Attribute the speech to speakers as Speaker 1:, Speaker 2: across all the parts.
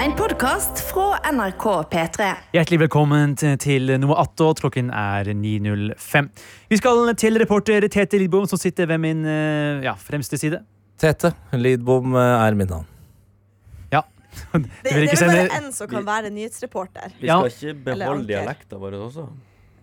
Speaker 1: En podkast fra NRK P3.
Speaker 2: Hjertelig velkommen t- til noe attåt. Klokken er 9.05. Vi skal til reporter Tete Lidbom, som sitter ved min eh, ja, fremste side.
Speaker 3: Tete Lidbom eh, er mitt navn.
Speaker 2: Ja. Du
Speaker 4: Det,
Speaker 2: vil
Speaker 4: det
Speaker 2: ikke
Speaker 4: er vel bare
Speaker 2: sende
Speaker 4: en som kan være nyhetsreporter.
Speaker 5: Vi
Speaker 2: Ja.
Speaker 5: skal ikke beholde
Speaker 4: anker.
Speaker 5: dialekta vår også.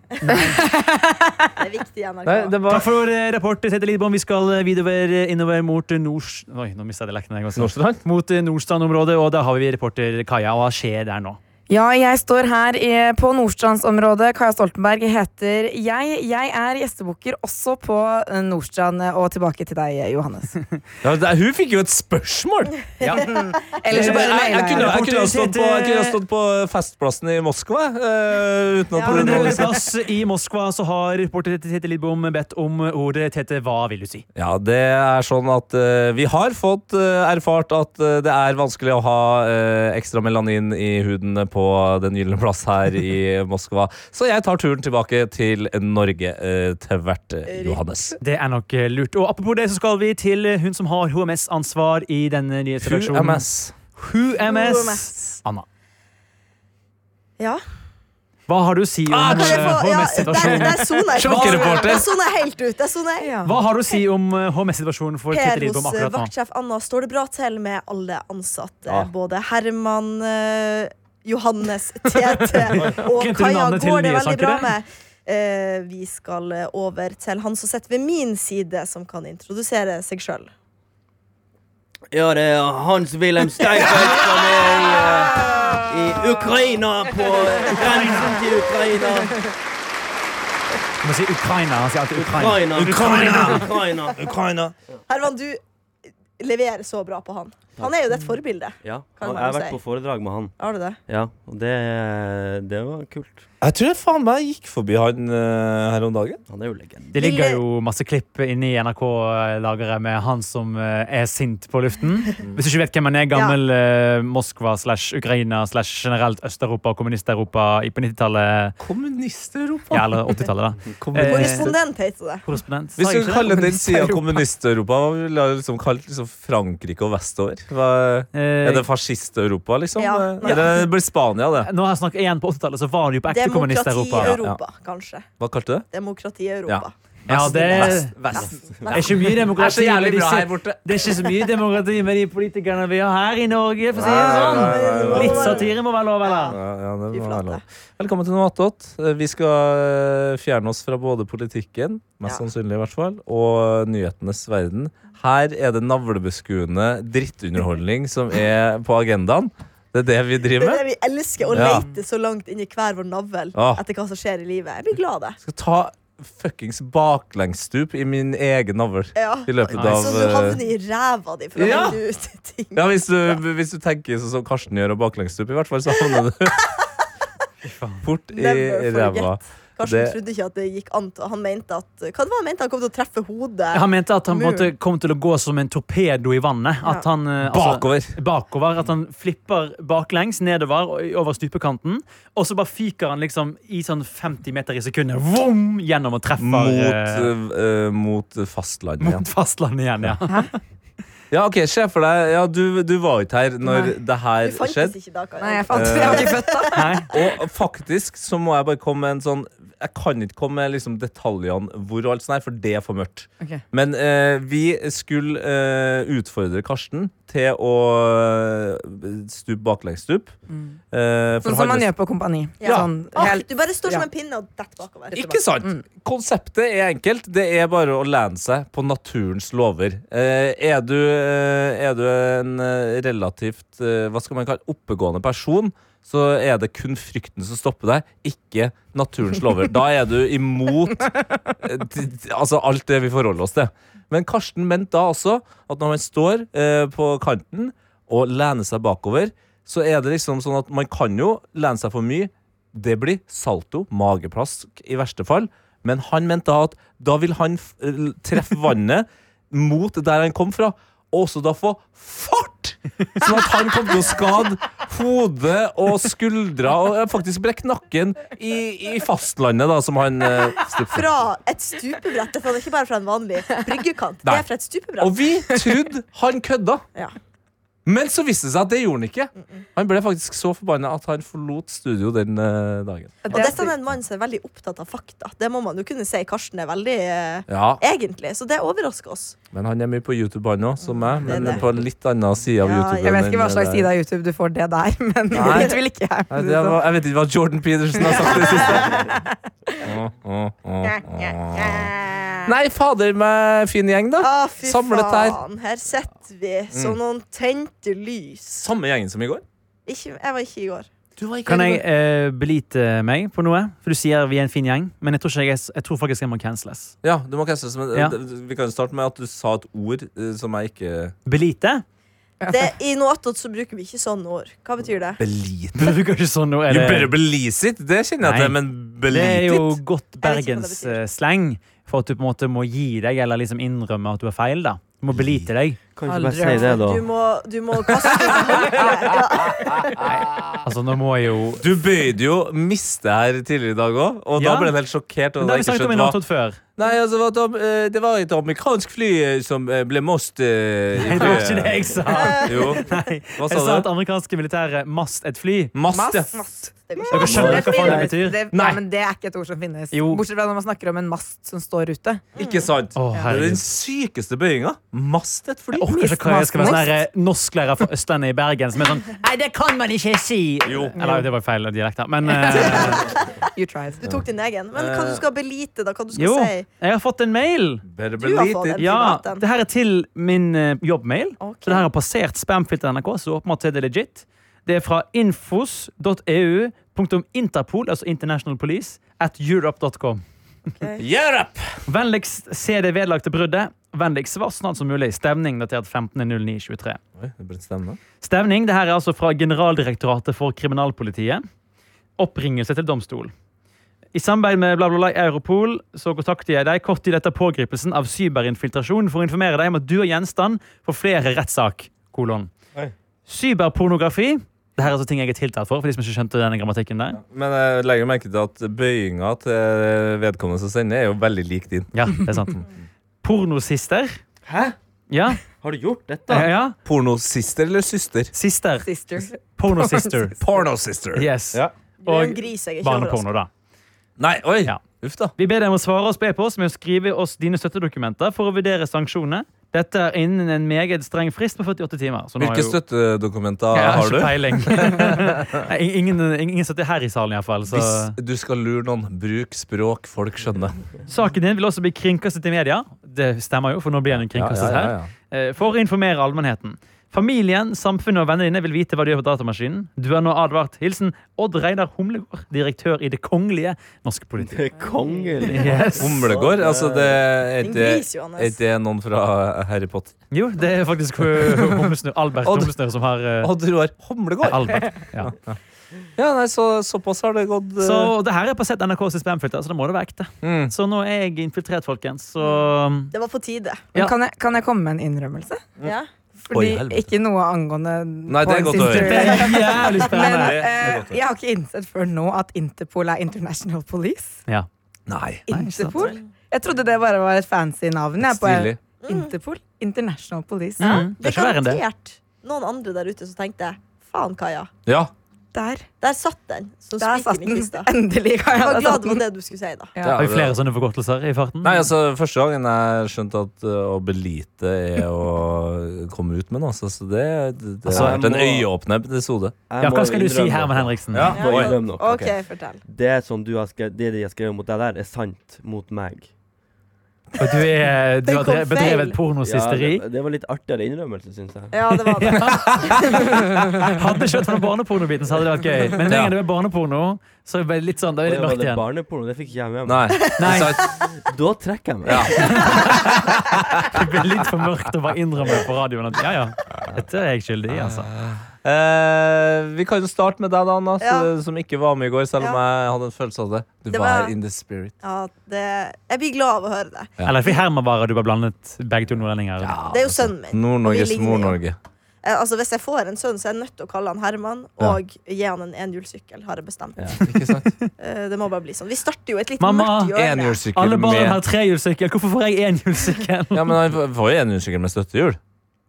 Speaker 4: Det er viktig i NRK.
Speaker 3: Nei, det
Speaker 2: Takk
Speaker 3: var
Speaker 2: for eh, reporter Tete Lidbom. Vi skal eh, vidover eh, innover mot eh, Nors... Oi, nå mistet jeg dialekten. jeg også.
Speaker 3: Nordstrand.
Speaker 2: Mot eh, Nordstrand-området, og da har vi reporter Kaja. Hva skjer der nå?
Speaker 6: Ja, jeg står her i, på Nordstrandsområdet. Kaja Stoltenberg heter jeg. Jeg er gjestebukker også på eh, Nordstrand. Og tilbake til deg, eh, Johannes.
Speaker 3: Ja, det, hun fikk jo et spørsmål! Jeg,
Speaker 6: Eller så bare
Speaker 3: jeg, jeg,
Speaker 6: mailer
Speaker 3: kunne,
Speaker 6: jeg.
Speaker 3: jeg, kunne ha stått på, jeg kunne ha stått på eh, festplassen i Moskva eh, uten at
Speaker 2: På en
Speaker 3: noen hadde
Speaker 2: eller
Speaker 3: sett.
Speaker 2: annen plass i Moskva så har reporter Tete Lidbom bedt om ordet Tete, hva vil du si?
Speaker 3: Ja, det er sånn at eh, vi har fått eh, erfart at eh, det er vanskelig å ha eh, ekstra melanin i huden på Den gylne plass her i Moskva. Så jeg tar turen tilbake til Norge eh, til hvert eh, Johannes.
Speaker 2: Det er nok eh, lurt. Og apropos det, så skal vi til eh, hun som har HMS-ansvar i denne nyhetsredaksjonen.
Speaker 3: QMS.
Speaker 2: Who MS?
Speaker 4: HMS.
Speaker 2: Anna,
Speaker 4: Ja.
Speaker 2: hva har du å si om
Speaker 3: Ah,
Speaker 2: eh,
Speaker 4: Kan jeg få, ja, der,
Speaker 2: HMS-situasjonen?
Speaker 4: der soner jeg
Speaker 3: Sjokkereporter.
Speaker 4: Der soner jeg helt ut. Der soner jeg.
Speaker 6: Ja.
Speaker 2: Hva har du å si om eh, HMS-situasjonen for Tete
Speaker 4: Her
Speaker 2: Lidbom
Speaker 4: hos eh,
Speaker 2: akkurat nå?
Speaker 4: vaktsjef Anna står det bra til med alle ansatte.
Speaker 3: Ja.
Speaker 4: Både Herman, eh, Johannes, Tete og
Speaker 2: Glemte du
Speaker 4: Kaja
Speaker 2: navnet til
Speaker 4: går det veldig
Speaker 2: nyhetsankeret?
Speaker 4: bra med. Eh, vi skal eh, over til han som sitter ved min side, som kan introdusere seg sjøl.
Speaker 5: Ja, det er Hans-Wilhelm Steinfeld som er i, eh, i Ukraina, på grensen til Ukraina.
Speaker 2: Du må si Ukraina. Han sier alltid Ukraina.
Speaker 5: Ukraina, Ukraina, Ukraina.
Speaker 3: Ukraina.
Speaker 4: Herman, du leverer så bra på han. Han er jo ditt forbilde.
Speaker 5: Ja,
Speaker 4: Kan
Speaker 5: og
Speaker 4: man
Speaker 5: jeg har
Speaker 4: jo
Speaker 5: vært
Speaker 4: si.
Speaker 5: på foredrag med han.
Speaker 4: Har du det?
Speaker 5: Ja, og det, det var kult.
Speaker 3: Jeg tror jeg faen meg gikk forbi han eh, her om dagen.
Speaker 5: Han er jo legende.
Speaker 2: Det ligger jo masse klipp inne i NRK-lageret med han som eh, er sint på luften.
Speaker 3: Mm.
Speaker 2: Hvis du ikke vet hvem han er, gammel eh, Moskva slash Ukraina slash generelt Øst-Europa og kommunist-Europa i- på 90-tallet.
Speaker 3: Kommunist-Europa.
Speaker 2: Ja, eller 80-tallet, da. Eh,
Speaker 4: Korrespondent heter det.
Speaker 2: korrespondent.
Speaker 3: Hvis
Speaker 2: Sa
Speaker 3: du
Speaker 2: jeg ikke
Speaker 3: kaller
Speaker 2: det?
Speaker 3: den sida kommunist-Europa, hva ville du liksom kalt liksom Frankrike og vestover? Hva,
Speaker 2: Eh,
Speaker 3: er det fascist-Europa, liksom?
Speaker 4: Ja.
Speaker 3: Eh, Eller det blir Spania, det.
Speaker 2: Nå har jeg snakket igjen på 80-tallet, så var det jo på ekte
Speaker 4: Demokrati-Europa,
Speaker 2: kommunist-Europa.
Speaker 3: Ja, ja.
Speaker 4: kanskje.
Speaker 3: Hva kalte du det?
Speaker 4: Demokrati-Europa.
Speaker 2: Ja, det
Speaker 3: Vest. Vest.
Speaker 2: Det er ikke mye demokrati
Speaker 3: Det er så jævlig
Speaker 2: med
Speaker 3: bra
Speaker 2: disse-
Speaker 3: her borte.
Speaker 2: Det er ikke så mye demokrati med de politikerne vi har her i Norge. For å si det sånn. Litt satire må være lov, eller?
Speaker 3: Ja, ja, det
Speaker 4: Fy
Speaker 3: må
Speaker 4: flate.
Speaker 3: være lov. Velkommen til noe attåt. Eh, Vi skal eh, fjerne oss fra både politikken, mest
Speaker 4: Ja.
Speaker 3: sannsynlig i hvert fall, og nyhetenes verden. Her er det navlebeskuende drittunderholdning som er på agendaen. Det er det vi
Speaker 4: Det
Speaker 3: driver
Speaker 4: er
Speaker 3: med.
Speaker 4: det vi elsker, å
Speaker 3: Ja. Ah.
Speaker 4: lete så langt inn i hver vår navl
Speaker 3: Ja.
Speaker 4: etter hva som skjer i livet. Jeg blir glad, det.
Speaker 3: skal ta fuckings baklengsstup i min egen navl
Speaker 4: Ja.
Speaker 3: i løpet
Speaker 2: Nice.
Speaker 3: av
Speaker 4: Så du
Speaker 3: eh,
Speaker 4: havner i ræva di for å
Speaker 3: Ja.
Speaker 4: finne ut ting.
Speaker 3: ja, hvis, du, hvis du tenker sånn som Karsten gjør, og baklengsstup, i hvert fall, så havner du fort i
Speaker 4: Never forget.
Speaker 3: ræva.
Speaker 4: Karsten
Speaker 3: det-
Speaker 4: trodde ikke at det gikk an. til- Han mente at Hva det var han mente? Han kom til å treffe hodet.
Speaker 2: Han mente at han på en måte kom til å gå som en torpedo i vannet. At han, eh, altså,
Speaker 3: Bakover.
Speaker 2: bakover. At han flipper baklengs nedover og- over stupekanten. Og så bare fyker han liksom i sånn 50 meter i sekundet Vroom! gjennom og treffer
Speaker 3: Mot,
Speaker 2: eh,
Speaker 3: eh, mot fastlandet igjen.
Speaker 2: mot fastlandet igjen. ja
Speaker 3: Ja, ok, se for deg ja, du, du var ikke her når
Speaker 6: Nei.
Speaker 3: det her
Speaker 4: Du fantes
Speaker 3: skjedde.
Speaker 4: ikke da, Kaja.
Speaker 6: Nei, jeg fant Jeg var ikke født da.
Speaker 2: Nei.
Speaker 3: Og faktisk så må jeg bare komme med en sånn Jeg kan ikke komme med liksom detaljene hvor og alt sånt her, for det er for mørkt.
Speaker 6: Ok.
Speaker 3: Men eh, vi skulle eh, utfordre Karsten til å eh, stupe baklengsstup. Eh, for
Speaker 6: Sånn som
Speaker 3: han-
Speaker 6: man gjør på Kompani.
Speaker 4: Ja.
Speaker 6: Sånn,
Speaker 4: Ah,
Speaker 6: helt,
Speaker 4: du bare står som
Speaker 6: Ja.
Speaker 4: en pinne og detter bakover.
Speaker 3: Eh, Ikke sant? Konseptet er enkelt. Det er bare å lene seg på naturens lover. Eh, er, du, eh, er du en eh, relativt eh, hva skal man kalle, oppegående person, så er det kun frykten som stopper deg, ikke naturens lover. Da er du imot eh, d- d- altså alt det vi forholder oss til. Men Karsten mente da også at når man står eh, på kanten og lener seg bakover, så er det liksom sånn at man kan jo lene seg for mye. Det blir salto, mageplask i verste fall. Men han mente da at da vil han f l- treffe vannet mot der han kom fra, og også da få fart! Sånn at han kom til å skade hodet og skuldra og eh, faktisk brekke nakken i, i fastlandet, da, som han eh, stupte.
Speaker 4: Fra et stupebrett. Det er ikke bare fra en vanlig bryggekant. Det
Speaker 3: Nei.
Speaker 4: er fra et stupebrett.
Speaker 3: Og vi trodde han kødda.
Speaker 4: Ja.
Speaker 3: Men så viste det seg at det gjorde han ikke. Han ble faktisk så forbanna at han forlot studio den eh, dagen.
Speaker 6: Og
Speaker 4: Og
Speaker 6: det er
Speaker 4: dette er sånn en mann som er veldig opptatt av fakta. Det må man jo kunne si. Karsten er veldig eh,
Speaker 3: Ja,
Speaker 4: Egentlig. Så det overrasker oss.
Speaker 3: Men han er mye på YouTube, han òg, som meg. Men
Speaker 4: Det er det.
Speaker 3: på en litt annen side av
Speaker 4: Ja,
Speaker 3: YouTube.
Speaker 6: Jeg vet ikke hva
Speaker 3: enn
Speaker 6: slags
Speaker 3: det
Speaker 6: side
Speaker 3: der.
Speaker 6: av YouTube du får det der, men
Speaker 3: Nei.
Speaker 6: det vil ikke jeg.
Speaker 3: Nei, det var, jeg vet ikke hva Jordan Peterson har sagt i det siste. Åh, åh, åh, åh. Nei, fader meg fin gjeng, da.
Speaker 4: Ah, fy
Speaker 3: Samlet her.
Speaker 4: faen. Her sitter vi
Speaker 2: Mm.
Speaker 4: som noen tente lys.
Speaker 3: Samme gjengen som i går.
Speaker 4: Ikke, jeg var ikke i går.
Speaker 2: Kan jeg eh, belite meg på noe? For du sier vi er en fin gjeng, men jeg tror, ikke jeg, er s- jeg tror faktisk jeg må canceles.
Speaker 3: Ja, du må cancele, men
Speaker 2: Ja.
Speaker 3: Vi kan jo starte med at du sa et ord eh, som jeg ikke
Speaker 2: Belite?
Speaker 4: Det, I Noatot så bruker vi ikke sånne ord. Hva betyr det?
Speaker 3: Belite.
Speaker 2: Du bruker ikke sånn nå. Er
Speaker 3: You
Speaker 2: det,
Speaker 3: better belease it. Det kjenner jeg til,
Speaker 2: Nei.
Speaker 3: men
Speaker 2: det
Speaker 3: belite
Speaker 2: er
Speaker 3: it
Speaker 2: jo godt
Speaker 4: hva det betyr.
Speaker 2: bergenssleng for at du på en måte må gi deg, eller liksom innrømme at du har feil. da Du må belite deg.
Speaker 5: Kan
Speaker 6: Aldri
Speaker 5: ikke bare si
Speaker 6: hørt
Speaker 5: det, da.
Speaker 4: Du må, du må kaste håndkleet. Ja.
Speaker 2: Altså, nå må jeg jo
Speaker 3: Du bøyde jo miste her tidligere i dag òg, og da
Speaker 2: Ja.
Speaker 3: ble han helt sjokkert. Og
Speaker 2: Men Det har vi
Speaker 3: da ikke
Speaker 2: snakket om i
Speaker 3: skjønte hva
Speaker 2: Nattått før.
Speaker 3: Nei, altså, det var, et, am- eh, det var et amerikansk fly eh, som eh, ble most eh, i
Speaker 2: Det var ikke det
Speaker 3: flyet.
Speaker 2: jeg sa.
Speaker 3: Jo.
Speaker 2: Nei, jeg
Speaker 3: Hva
Speaker 2: sa
Speaker 3: sa
Speaker 2: at
Speaker 3: du?
Speaker 2: amerikanske militære mast et fly.
Speaker 3: Mast, ja.
Speaker 6: Mast.
Speaker 2: Dere skjønner hva faen det
Speaker 6: finnes.
Speaker 2: betyr?
Speaker 6: Det-
Speaker 3: Nei.
Speaker 6: Ja, men det er ikke et ord som finnes.
Speaker 2: Jo.
Speaker 6: Bortsett fra når man snakker om en mast som står ute.
Speaker 3: Ikke sant?
Speaker 2: Å,
Speaker 3: det er
Speaker 2: herregud.
Speaker 3: den sykeste bøyinga. Mast et fly.
Speaker 2: Jeg orker ikke hva jeg skal være sånn her, eh, norsklærer fra Østlandet i Bergen som er sånn Nei, det kan man ikke si!
Speaker 3: Jo.
Speaker 2: Eller det var feil dialekt, da. Men eh,
Speaker 6: You tried.
Speaker 4: Du tok din egen. Men
Speaker 5: Eh,
Speaker 4: hva du skal belite, da? Hva du skal
Speaker 2: jo,
Speaker 4: si?
Speaker 2: jeg har fått en mail.
Speaker 3: Better
Speaker 4: Du har
Speaker 3: believe
Speaker 4: fått en
Speaker 3: it.
Speaker 2: Ja,
Speaker 4: privat en.
Speaker 2: det her er til min eh, jobbmail.
Speaker 4: Ok.
Speaker 2: Så det her har passert spamfilter NRK, så åpenbart er det legit. Det er fra E infos.eu.interpol, altså International Police, at europe.com.
Speaker 3: Europe!
Speaker 2: Vennligst se det vedlagte bruddet. Vennligst svar snart som mulig. Stevning datert 15.09.23.
Speaker 3: Oi, det ble stemme.
Speaker 2: Stevning det her er altså fra Generaldirektoratet for kriminalpolitiet. Oppringelse til domstol. I samarbeid med bla, bla, bla, Europol så kontakter jeg deg kort tid etter pågripelsen av cyberinfiltrasjon for å informere deg om at du er gjenstand for flere rettssak. Kolon.
Speaker 3: Oi.
Speaker 2: Cyberpornografi. Det her er altså ting jeg er tiltalt for. for de som ikke skjønte denne grammatikken der.
Speaker 3: Men jeg legger merke til at bøyinga til vedkommende som sender, er jo veldig lik din.
Speaker 2: Ja, det er sant. Pornosister.
Speaker 5: Hæ?
Speaker 2: Ja,
Speaker 5: Har du gjort dette?
Speaker 2: ja, ja.
Speaker 3: Pornosister eller syster?
Speaker 2: Sister.
Speaker 6: Sister.
Speaker 2: Pornosister.
Speaker 3: Pornosister.
Speaker 2: Yes.
Speaker 3: Ja.
Speaker 4: Du er jo en
Speaker 2: Og
Speaker 4: gris, jeg er ikke
Speaker 2: barneporno, da.
Speaker 3: Nei, oi!
Speaker 2: Ja.
Speaker 3: Uff, da.
Speaker 2: Vi ber deg om å svare oss på e-post med å skrive oss dine støttedokumenter for å vurdere sanksjoner. Dette er innen en meget streng frist på 48 timer. Så nå er
Speaker 3: Hvilke
Speaker 2: jo-
Speaker 3: støttedokumenter
Speaker 2: Jeg
Speaker 3: har du?
Speaker 2: Ikke peiling. Nei, ingen, ingen støtter her i salen, iallfall.
Speaker 3: Hvis
Speaker 2: Så.
Speaker 3: du skal lure noen, bruk språk folk skjønner.
Speaker 2: Saken din vil også bli kringkastet i media. Det stemmer jo, for nå blir den kringkastet her.
Speaker 3: ja.
Speaker 2: Eh, For å informere allmennheten. Familien, samfunnet og vennene dine vil vite hva du gjør på datamaskinen. Du er nå advart. Hilsen Odd Reidar Humlegård, direktør i Det kongelige norske politi.
Speaker 5: Kongelig.
Speaker 2: Yes.
Speaker 3: Humlegård? Altså, det er
Speaker 4: Din
Speaker 5: eh,
Speaker 3: det-
Speaker 4: gris, Johannes.
Speaker 3: er det noen fra Harry Potter?
Speaker 2: Jo, det er faktisk eh, Humlesnø, Albert
Speaker 3: Odd-
Speaker 2: Humlesnø som har eh,
Speaker 3: Odd Roar Humlegård?
Speaker 2: Albert. Ja.
Speaker 3: Ja, nei, så, såpass har det gått. eh,
Speaker 2: Så det her er på sett NRKs spamfilter, så det må det være ekte.
Speaker 3: Mm.
Speaker 2: Så nå er jeg infiltrert, folkens. Så
Speaker 4: Det var på tide.
Speaker 6: Men
Speaker 2: Ja.
Speaker 6: Kan, jeg, kan jeg komme med en innrømmelse?
Speaker 2: Mm.
Speaker 4: Ja.
Speaker 3: Oi,
Speaker 6: Fordi
Speaker 3: helvete.
Speaker 6: ikke noe angående
Speaker 3: Nei, det er godt å høre.
Speaker 2: det er jævlig
Speaker 6: Men
Speaker 2: spennende.
Speaker 3: det er godt
Speaker 6: eh,
Speaker 3: å høre.
Speaker 6: jeg har ikke innsett før nå at Interpol er International Police.
Speaker 2: Ja.
Speaker 3: Nei.
Speaker 2: Nei, ikke sant.
Speaker 6: Interpol? Jeg trodde det bare var et fancy navn. Jeg, på
Speaker 3: Stilig.
Speaker 6: Interpol? International Police.
Speaker 2: Mm. Det er
Speaker 4: Det er
Speaker 2: ikke verre enn det.
Speaker 4: garantert noen andre der ute som tenkte faen, Kaja.
Speaker 3: Ja.
Speaker 6: Der,
Speaker 4: Der satt den som
Speaker 6: der satt
Speaker 4: spiker i
Speaker 6: den.
Speaker 4: kista.
Speaker 6: Endelig. Kan
Speaker 4: Jeg var
Speaker 6: jeg
Speaker 4: glad det var det du skulle si, da.
Speaker 3: det
Speaker 2: Har vi
Speaker 3: det.
Speaker 2: flere sånne forkortelser i farten?
Speaker 3: Nei, altså, første gangen jeg skjønte at eh, å belite er å komme ut med noe, altså, så det, det, det har
Speaker 5: Altså,
Speaker 3: vært en
Speaker 5: jeg
Speaker 3: øyeåpnende episode.
Speaker 2: ja, hva skal du si, Herman Henriksen?
Speaker 3: Ja.
Speaker 5: Må innrømme noe.
Speaker 4: OK, fortell.
Speaker 5: Det som du har skrevet, det de har skrevet mot deg der, er sant mot meg.
Speaker 2: For du, er, du
Speaker 4: Den
Speaker 2: har
Speaker 4: kom
Speaker 2: dre- bedrevet
Speaker 4: feil.
Speaker 2: pornosysteri.
Speaker 5: Ja, det, det var litt artigere innrømmelse, syns jeg.
Speaker 4: Ja, det var det.
Speaker 2: Hadde det skjønt fra barnepornobiten, så hadde det vært gøy. Men med en gang det er barneporno, så er det litt sånn, da er det
Speaker 5: Det var
Speaker 2: mørkt
Speaker 5: det
Speaker 2: igjen.
Speaker 5: barneporno, det fikk ikke jeg med meg.
Speaker 3: Nei.
Speaker 2: Nei.
Speaker 3: Ikke sant?
Speaker 5: Da trekker jeg meg.
Speaker 3: Ja.
Speaker 2: Det blir litt for mørkt å bare innrømme på radioen at ja, ja, dette er jeg skyldig i, altså.
Speaker 3: Eh, vi kan jo starte med deg, da, Anna,
Speaker 4: Ja.
Speaker 3: s- som ikke var med i går, selv om jeg hadde en følelse av det. Du
Speaker 4: Det
Speaker 3: var
Speaker 4: var-
Speaker 3: her in the spirit.
Speaker 4: Ja, det. Jeg blir glad av å høre det.
Speaker 2: Eller fordi Herman var og du var blandet begge to nordlendinger.
Speaker 4: Det er jo sønnen
Speaker 3: altså,
Speaker 4: min.
Speaker 3: Nord-Norges
Speaker 4: Og vi ligner jo.
Speaker 3: Mor-Norge.
Speaker 4: Eh, Altså, Hvis jeg får en sønn, så er jeg nødt til å kalle han Herman og gi han en enhjulssykkel. har jeg bestemt.
Speaker 3: Ikke sant?
Speaker 4: Eh, Det må bare bli sånn. Vi starter jo et litt
Speaker 2: Mamma,
Speaker 4: mørkt hjørne.
Speaker 3: Enhjulssykkel
Speaker 2: Alle barn
Speaker 3: med
Speaker 2: har trehjulssykkel, hvorfor får jeg enhjulssykkel?
Speaker 3: Ja, men han får jo enhjulssykkel med støttehjul.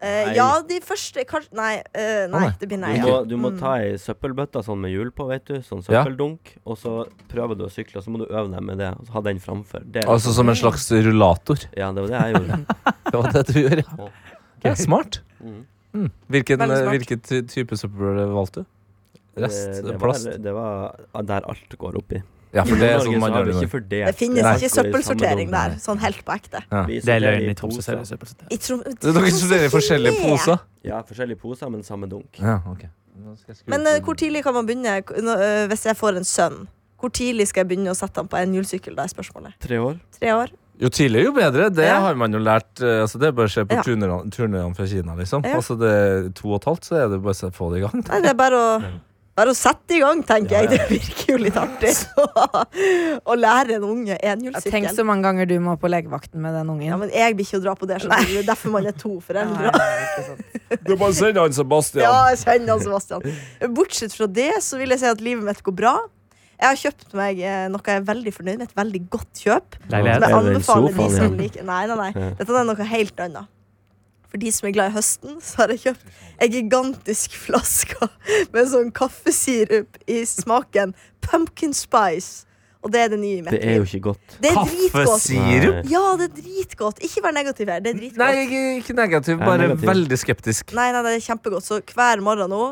Speaker 4: Eh,
Speaker 5: Nei.
Speaker 4: ja, de første kanskje, nei, eh, nei,
Speaker 3: nei.
Speaker 4: det blir nei.
Speaker 5: Du må,
Speaker 4: ja.
Speaker 5: du må
Speaker 4: Mm.
Speaker 5: ta ei søppelbøtte sånn med hjul på, vet du. Sånn
Speaker 3: Ja.
Speaker 5: søppeldunk. Og så prøver du å sykle, og så må du øve deg med det. Og så ha den framfor. Det,
Speaker 3: Altså som en slags rullator.
Speaker 5: Ja, det var det jeg gjorde.
Speaker 3: Det var det du gjorde, ja. ja smart.
Speaker 5: Mm.
Speaker 3: Mm. Hvilken,
Speaker 6: Veldig smart.
Speaker 3: hvilken ty- type søppelbrød valgte du? Rest?
Speaker 4: Eh,
Speaker 5: det, det,
Speaker 3: Plast?
Speaker 5: var, det var der alt går oppi.
Speaker 3: Ja, for det er sånn man
Speaker 5: så har
Speaker 3: gjør
Speaker 5: vi
Speaker 3: det
Speaker 5: ikke
Speaker 3: nå.
Speaker 5: fordelt
Speaker 4: Det finnes
Speaker 3: Nei.
Speaker 4: ikke søppelsortering der, sånn helt på ekte.
Speaker 5: Vi
Speaker 2: Det er
Speaker 5: sorterer
Speaker 2: løgn
Speaker 5: i
Speaker 2: i Tromsø.
Speaker 5: poser.
Speaker 2: ser du, søppel.
Speaker 4: I tro-
Speaker 3: Dere studerer i forskjellige poser?
Speaker 5: Ja, forskjellige poser, men samme dunk.
Speaker 3: Ja, ok. Nå skal jeg skru
Speaker 4: Men
Speaker 3: opp
Speaker 4: eh,
Speaker 3: den.
Speaker 4: hvor tidlig kan man begynne K- nå, eh, hvis jeg får en sønn? Hvor tidlig skal jeg begynne å sette han på en hjulsykkel? Da er spørsmålet.
Speaker 5: Tre år.
Speaker 4: Tre år?
Speaker 3: Jo tidligere, jo bedre. Det
Speaker 4: Ja.
Speaker 3: har man jo lært. eh, Altså, det bør skje på
Speaker 4: Ja.
Speaker 3: turnerne turnerne fra Kina. liksom
Speaker 4: Ja.
Speaker 3: Altså, det er To og et halvt, så er det bare å få det i gang.
Speaker 4: Nei, det er bare å, bare å sette i gang, tenker
Speaker 3: Ja, ja.
Speaker 4: jeg. Det virker jo litt artig. Så, å lære en unge
Speaker 6: Tenk
Speaker 4: enhjulssykkel.
Speaker 6: så mange ganger du må på legevakten med den
Speaker 4: Ja,
Speaker 6: ungen.
Speaker 4: men jeg blir ikke å dra på det. skjønner du. Det er derfor man er to foreldre.
Speaker 3: Du bare send han Sebastian.
Speaker 4: Ja, jeg kjenner han Sebastian. Bortsett fra det så vil jeg si at livet mitt går bra. Jeg har kjøpt meg eh, noe jeg er veldig fornøyd med. Et veldig godt kjøp.
Speaker 2: Leilighet.
Speaker 4: Som jeg
Speaker 5: Er det den
Speaker 4: anbefaler de
Speaker 5: sofaen
Speaker 4: som
Speaker 5: igjen?
Speaker 4: liker Nei, nei, nei.
Speaker 5: Ja.
Speaker 4: Dette er noe helt annet. For de som er glad i høsten, så har jeg kjøpt ei gigantisk flaske med sånn kaffesirup i smaken. Pumpkin spice. Og det er det nye i mitt
Speaker 5: Det er
Speaker 4: liv.
Speaker 5: jo ikke godt.
Speaker 4: Det er dritgodt.
Speaker 3: Kaffesirup?
Speaker 5: Nei.
Speaker 4: Ja, det er dritgodt. Ikke vær negativ her. Det er
Speaker 3: Nei,
Speaker 4: dritgodt.
Speaker 3: ikke, ikke negativ,
Speaker 5: Ja,
Speaker 3: bare
Speaker 5: negativ.
Speaker 3: veldig skeptisk.
Speaker 4: Nei, nei, det er kjempegodt. Så hver morgen nå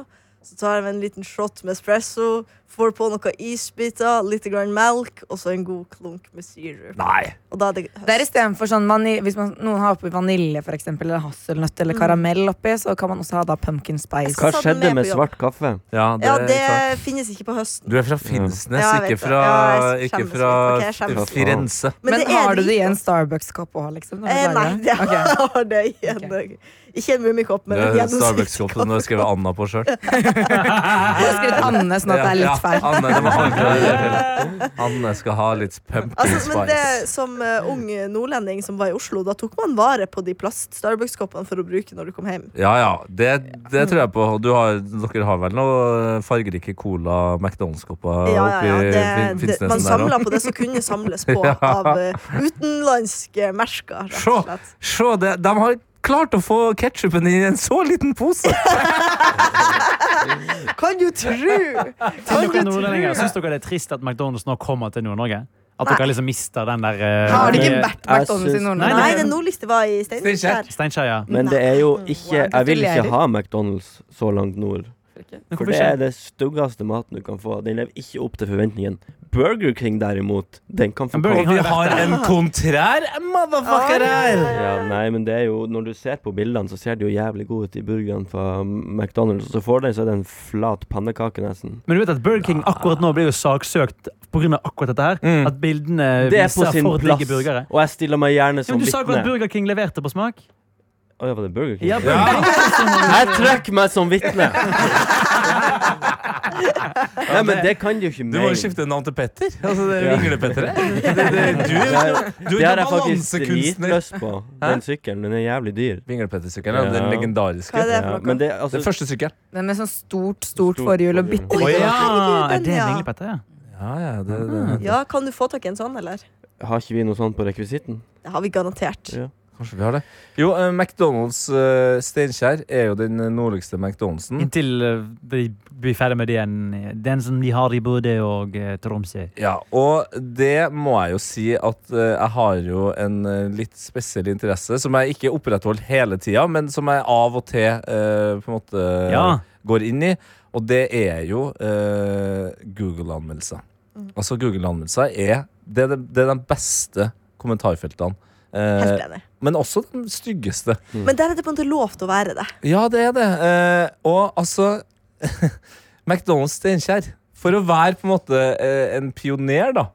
Speaker 4: så tar jeg en liten shot med espresso, får på noen isbiter, litt grann melk og så en god klunk med sirup.
Speaker 3: Nei.
Speaker 4: Og da er det
Speaker 6: Det er istedenfor sånn vani- Hvis man, noen har oppi vanilje for eksempel, eller hasselnøtt eller karamell oppi, så kan man også ha da pumpkin spice.
Speaker 5: Hva
Speaker 4: Så satt den
Speaker 5: skjedde
Speaker 4: med
Speaker 5: med
Speaker 4: på jobb.
Speaker 5: svart kaffe?
Speaker 3: Ja, det,
Speaker 4: Ja,
Speaker 3: er
Speaker 4: det
Speaker 3: klart.
Speaker 4: finnes ikke på høsten.
Speaker 3: Du er fra Finnsnes,
Speaker 4: Ja, jeg vet
Speaker 3: ikke
Speaker 4: det.
Speaker 3: fra,
Speaker 4: Ja, jeg
Speaker 3: ikke
Speaker 4: skjemmes
Speaker 3: fra
Speaker 4: litt. Ok, jeg skjemmes litt.
Speaker 3: Firenze.
Speaker 6: Men,
Speaker 4: det er
Speaker 6: har du det i en
Speaker 4: dritgodt.
Speaker 6: Starbucks-kopp òg, liksom? når du
Speaker 4: Eh, nei,
Speaker 6: lager
Speaker 4: det
Speaker 6: Ok.
Speaker 4: har det i en Ikke en mummikopp, men en
Speaker 3: Det er
Speaker 4: gjennomsiktskopp.
Speaker 3: Starbucks-koppen du har skrevet Anna på sjøl.
Speaker 6: Jeg har skrevet Anne, sånn at det er litt feil.
Speaker 3: Anne, det var aldri- Anne skal ha litt pumpkin
Speaker 4: Altså, men det,
Speaker 3: spice.
Speaker 4: som eh, ung nordlending som var i Oslo, da tok man vare på de plast-Starbucks-koppene for å bruke når du kom hjem.
Speaker 3: Ja, ja. Det, det tror jeg på. Du har, dere har vel noen fargerike Cola McDonald's-kopper
Speaker 4: Ja, ja, ja.
Speaker 3: oppi
Speaker 4: Det,
Speaker 3: Fin-
Speaker 4: det, man
Speaker 3: Finnsnesen der
Speaker 4: samla
Speaker 3: òg?
Speaker 4: på det som kunne samles på
Speaker 3: Ja.
Speaker 4: av eh, utenlandske merker, rett
Speaker 3: Se.
Speaker 4: og slett.
Speaker 3: Se, det, de har klart å få ketsjupen i en så liten pose!
Speaker 4: Kan du tru! Kan
Speaker 2: Syns
Speaker 4: du
Speaker 2: dere,
Speaker 4: tru?
Speaker 2: nordlendinger, syns dere det er trist at McDonald's nå kommer til Nord-Norge? At dere liksom mister den der eh,
Speaker 6: Har det ikke
Speaker 2: eh,
Speaker 6: vært McDonald's i
Speaker 5: Jeg syns-
Speaker 6: Nord-Norge?
Speaker 4: Nei, den nordligste var i Steinkjer.
Speaker 2: Steinkjer, ja.
Speaker 5: Men det er jo ikke
Speaker 6: Wow.
Speaker 5: Jeg vil ikke
Speaker 6: Gratulerer.
Speaker 5: ha McDonald's så langt nord.
Speaker 2: Men
Speaker 5: For
Speaker 2: hvorfor
Speaker 5: det
Speaker 2: ikke?
Speaker 5: er det styggeste maten du kan få. Den lever ikke opp til forventningen. Burger King derimot, den kan få
Speaker 2: Men Burger
Speaker 5: komme.
Speaker 2: King
Speaker 3: Vi har en kontrær motherfucker her!
Speaker 5: Ja, nei, men det er jo Når du ser på bildene, så ser de jo jævlig gode ut, de burgerne fra McDonald's. Og så får de så er det en flat pannekake, nesten.
Speaker 2: Men du vet at Burger King akkurat nå blir jo saksøkt pga. akkurat dette her.
Speaker 3: Mm.
Speaker 2: At bildene
Speaker 5: Det er på
Speaker 2: viser
Speaker 5: sin
Speaker 2: for
Speaker 5: plass,
Speaker 2: digge burgere.
Speaker 5: og jeg stiller meg
Speaker 2: Ja,
Speaker 5: gjerne
Speaker 2: men
Speaker 5: som
Speaker 2: du sa jo at
Speaker 5: vitne.
Speaker 2: Burger King leverte på smak.
Speaker 5: Å ja, var det Burger King?
Speaker 2: Ja,
Speaker 3: Ja.
Speaker 2: Burger King.
Speaker 5: Jeg trekker meg som vitne! Nei, men det kan de jo ikke
Speaker 3: Du må jo
Speaker 5: mene.
Speaker 3: skifte navn til Petter. Altså, det er
Speaker 5: Ja.
Speaker 3: Vinglepetter. det. Det- det- Du er du
Speaker 5: Det
Speaker 3: er
Speaker 5: har jeg faktisk
Speaker 3: balansekunstner.
Speaker 5: dritløst på. Den sykkelen, den er jævlig dyr.
Speaker 3: Vinglepetter-sykkelen, ja. den
Speaker 5: Ja.
Speaker 3: legendariske.
Speaker 4: Hva er det
Speaker 5: Ja,
Speaker 4: for noe?
Speaker 5: men det, altså,
Speaker 3: Den første sykkelen.
Speaker 6: Den med sånn stort,
Speaker 5: Stort
Speaker 6: stort forhjul og
Speaker 5: forhjul.
Speaker 6: bitte
Speaker 2: Å
Speaker 6: lite
Speaker 2: ja!
Speaker 4: Herregud,
Speaker 2: Er
Speaker 4: den,
Speaker 2: det en
Speaker 4: ja.
Speaker 2: vinglepetter? Ja.
Speaker 3: Ja, ja, det, det.
Speaker 4: Ja, kan du få tak i en sånn, eller?
Speaker 5: Har ikke vi noe sånt på rekvisitten?
Speaker 4: Det har vi garantert.
Speaker 5: Ja.
Speaker 3: Kanskje vi har det. Jo, eh, McDonald's eh, Steinkjer er jo den nordligste McDonald'sen.
Speaker 2: Inntil eh, de blir ferdig med den, eh, den som de har i Bodø og eh, Tromsø.
Speaker 3: Ja, og det må jeg jo si at eh, jeg har jo en eh, litt spesiell interesse som jeg ikke opprettholder hele tida, men som jeg av og til eh, på en måte
Speaker 2: Ja.
Speaker 3: går inn i. Og det er jo eh, Google-anmeldelser. Altså Google-anmeldelser er det, er det det er de beste kommentarfeltene. Eh, mm.
Speaker 4: Helt enig.
Speaker 3: men også de styggeste.
Speaker 4: Men der er det på en måte lov til å være det.
Speaker 3: Ja, det er det. Eh, og altså McDonald's Steinkjer. For å være på en måte eh, en pioner, da.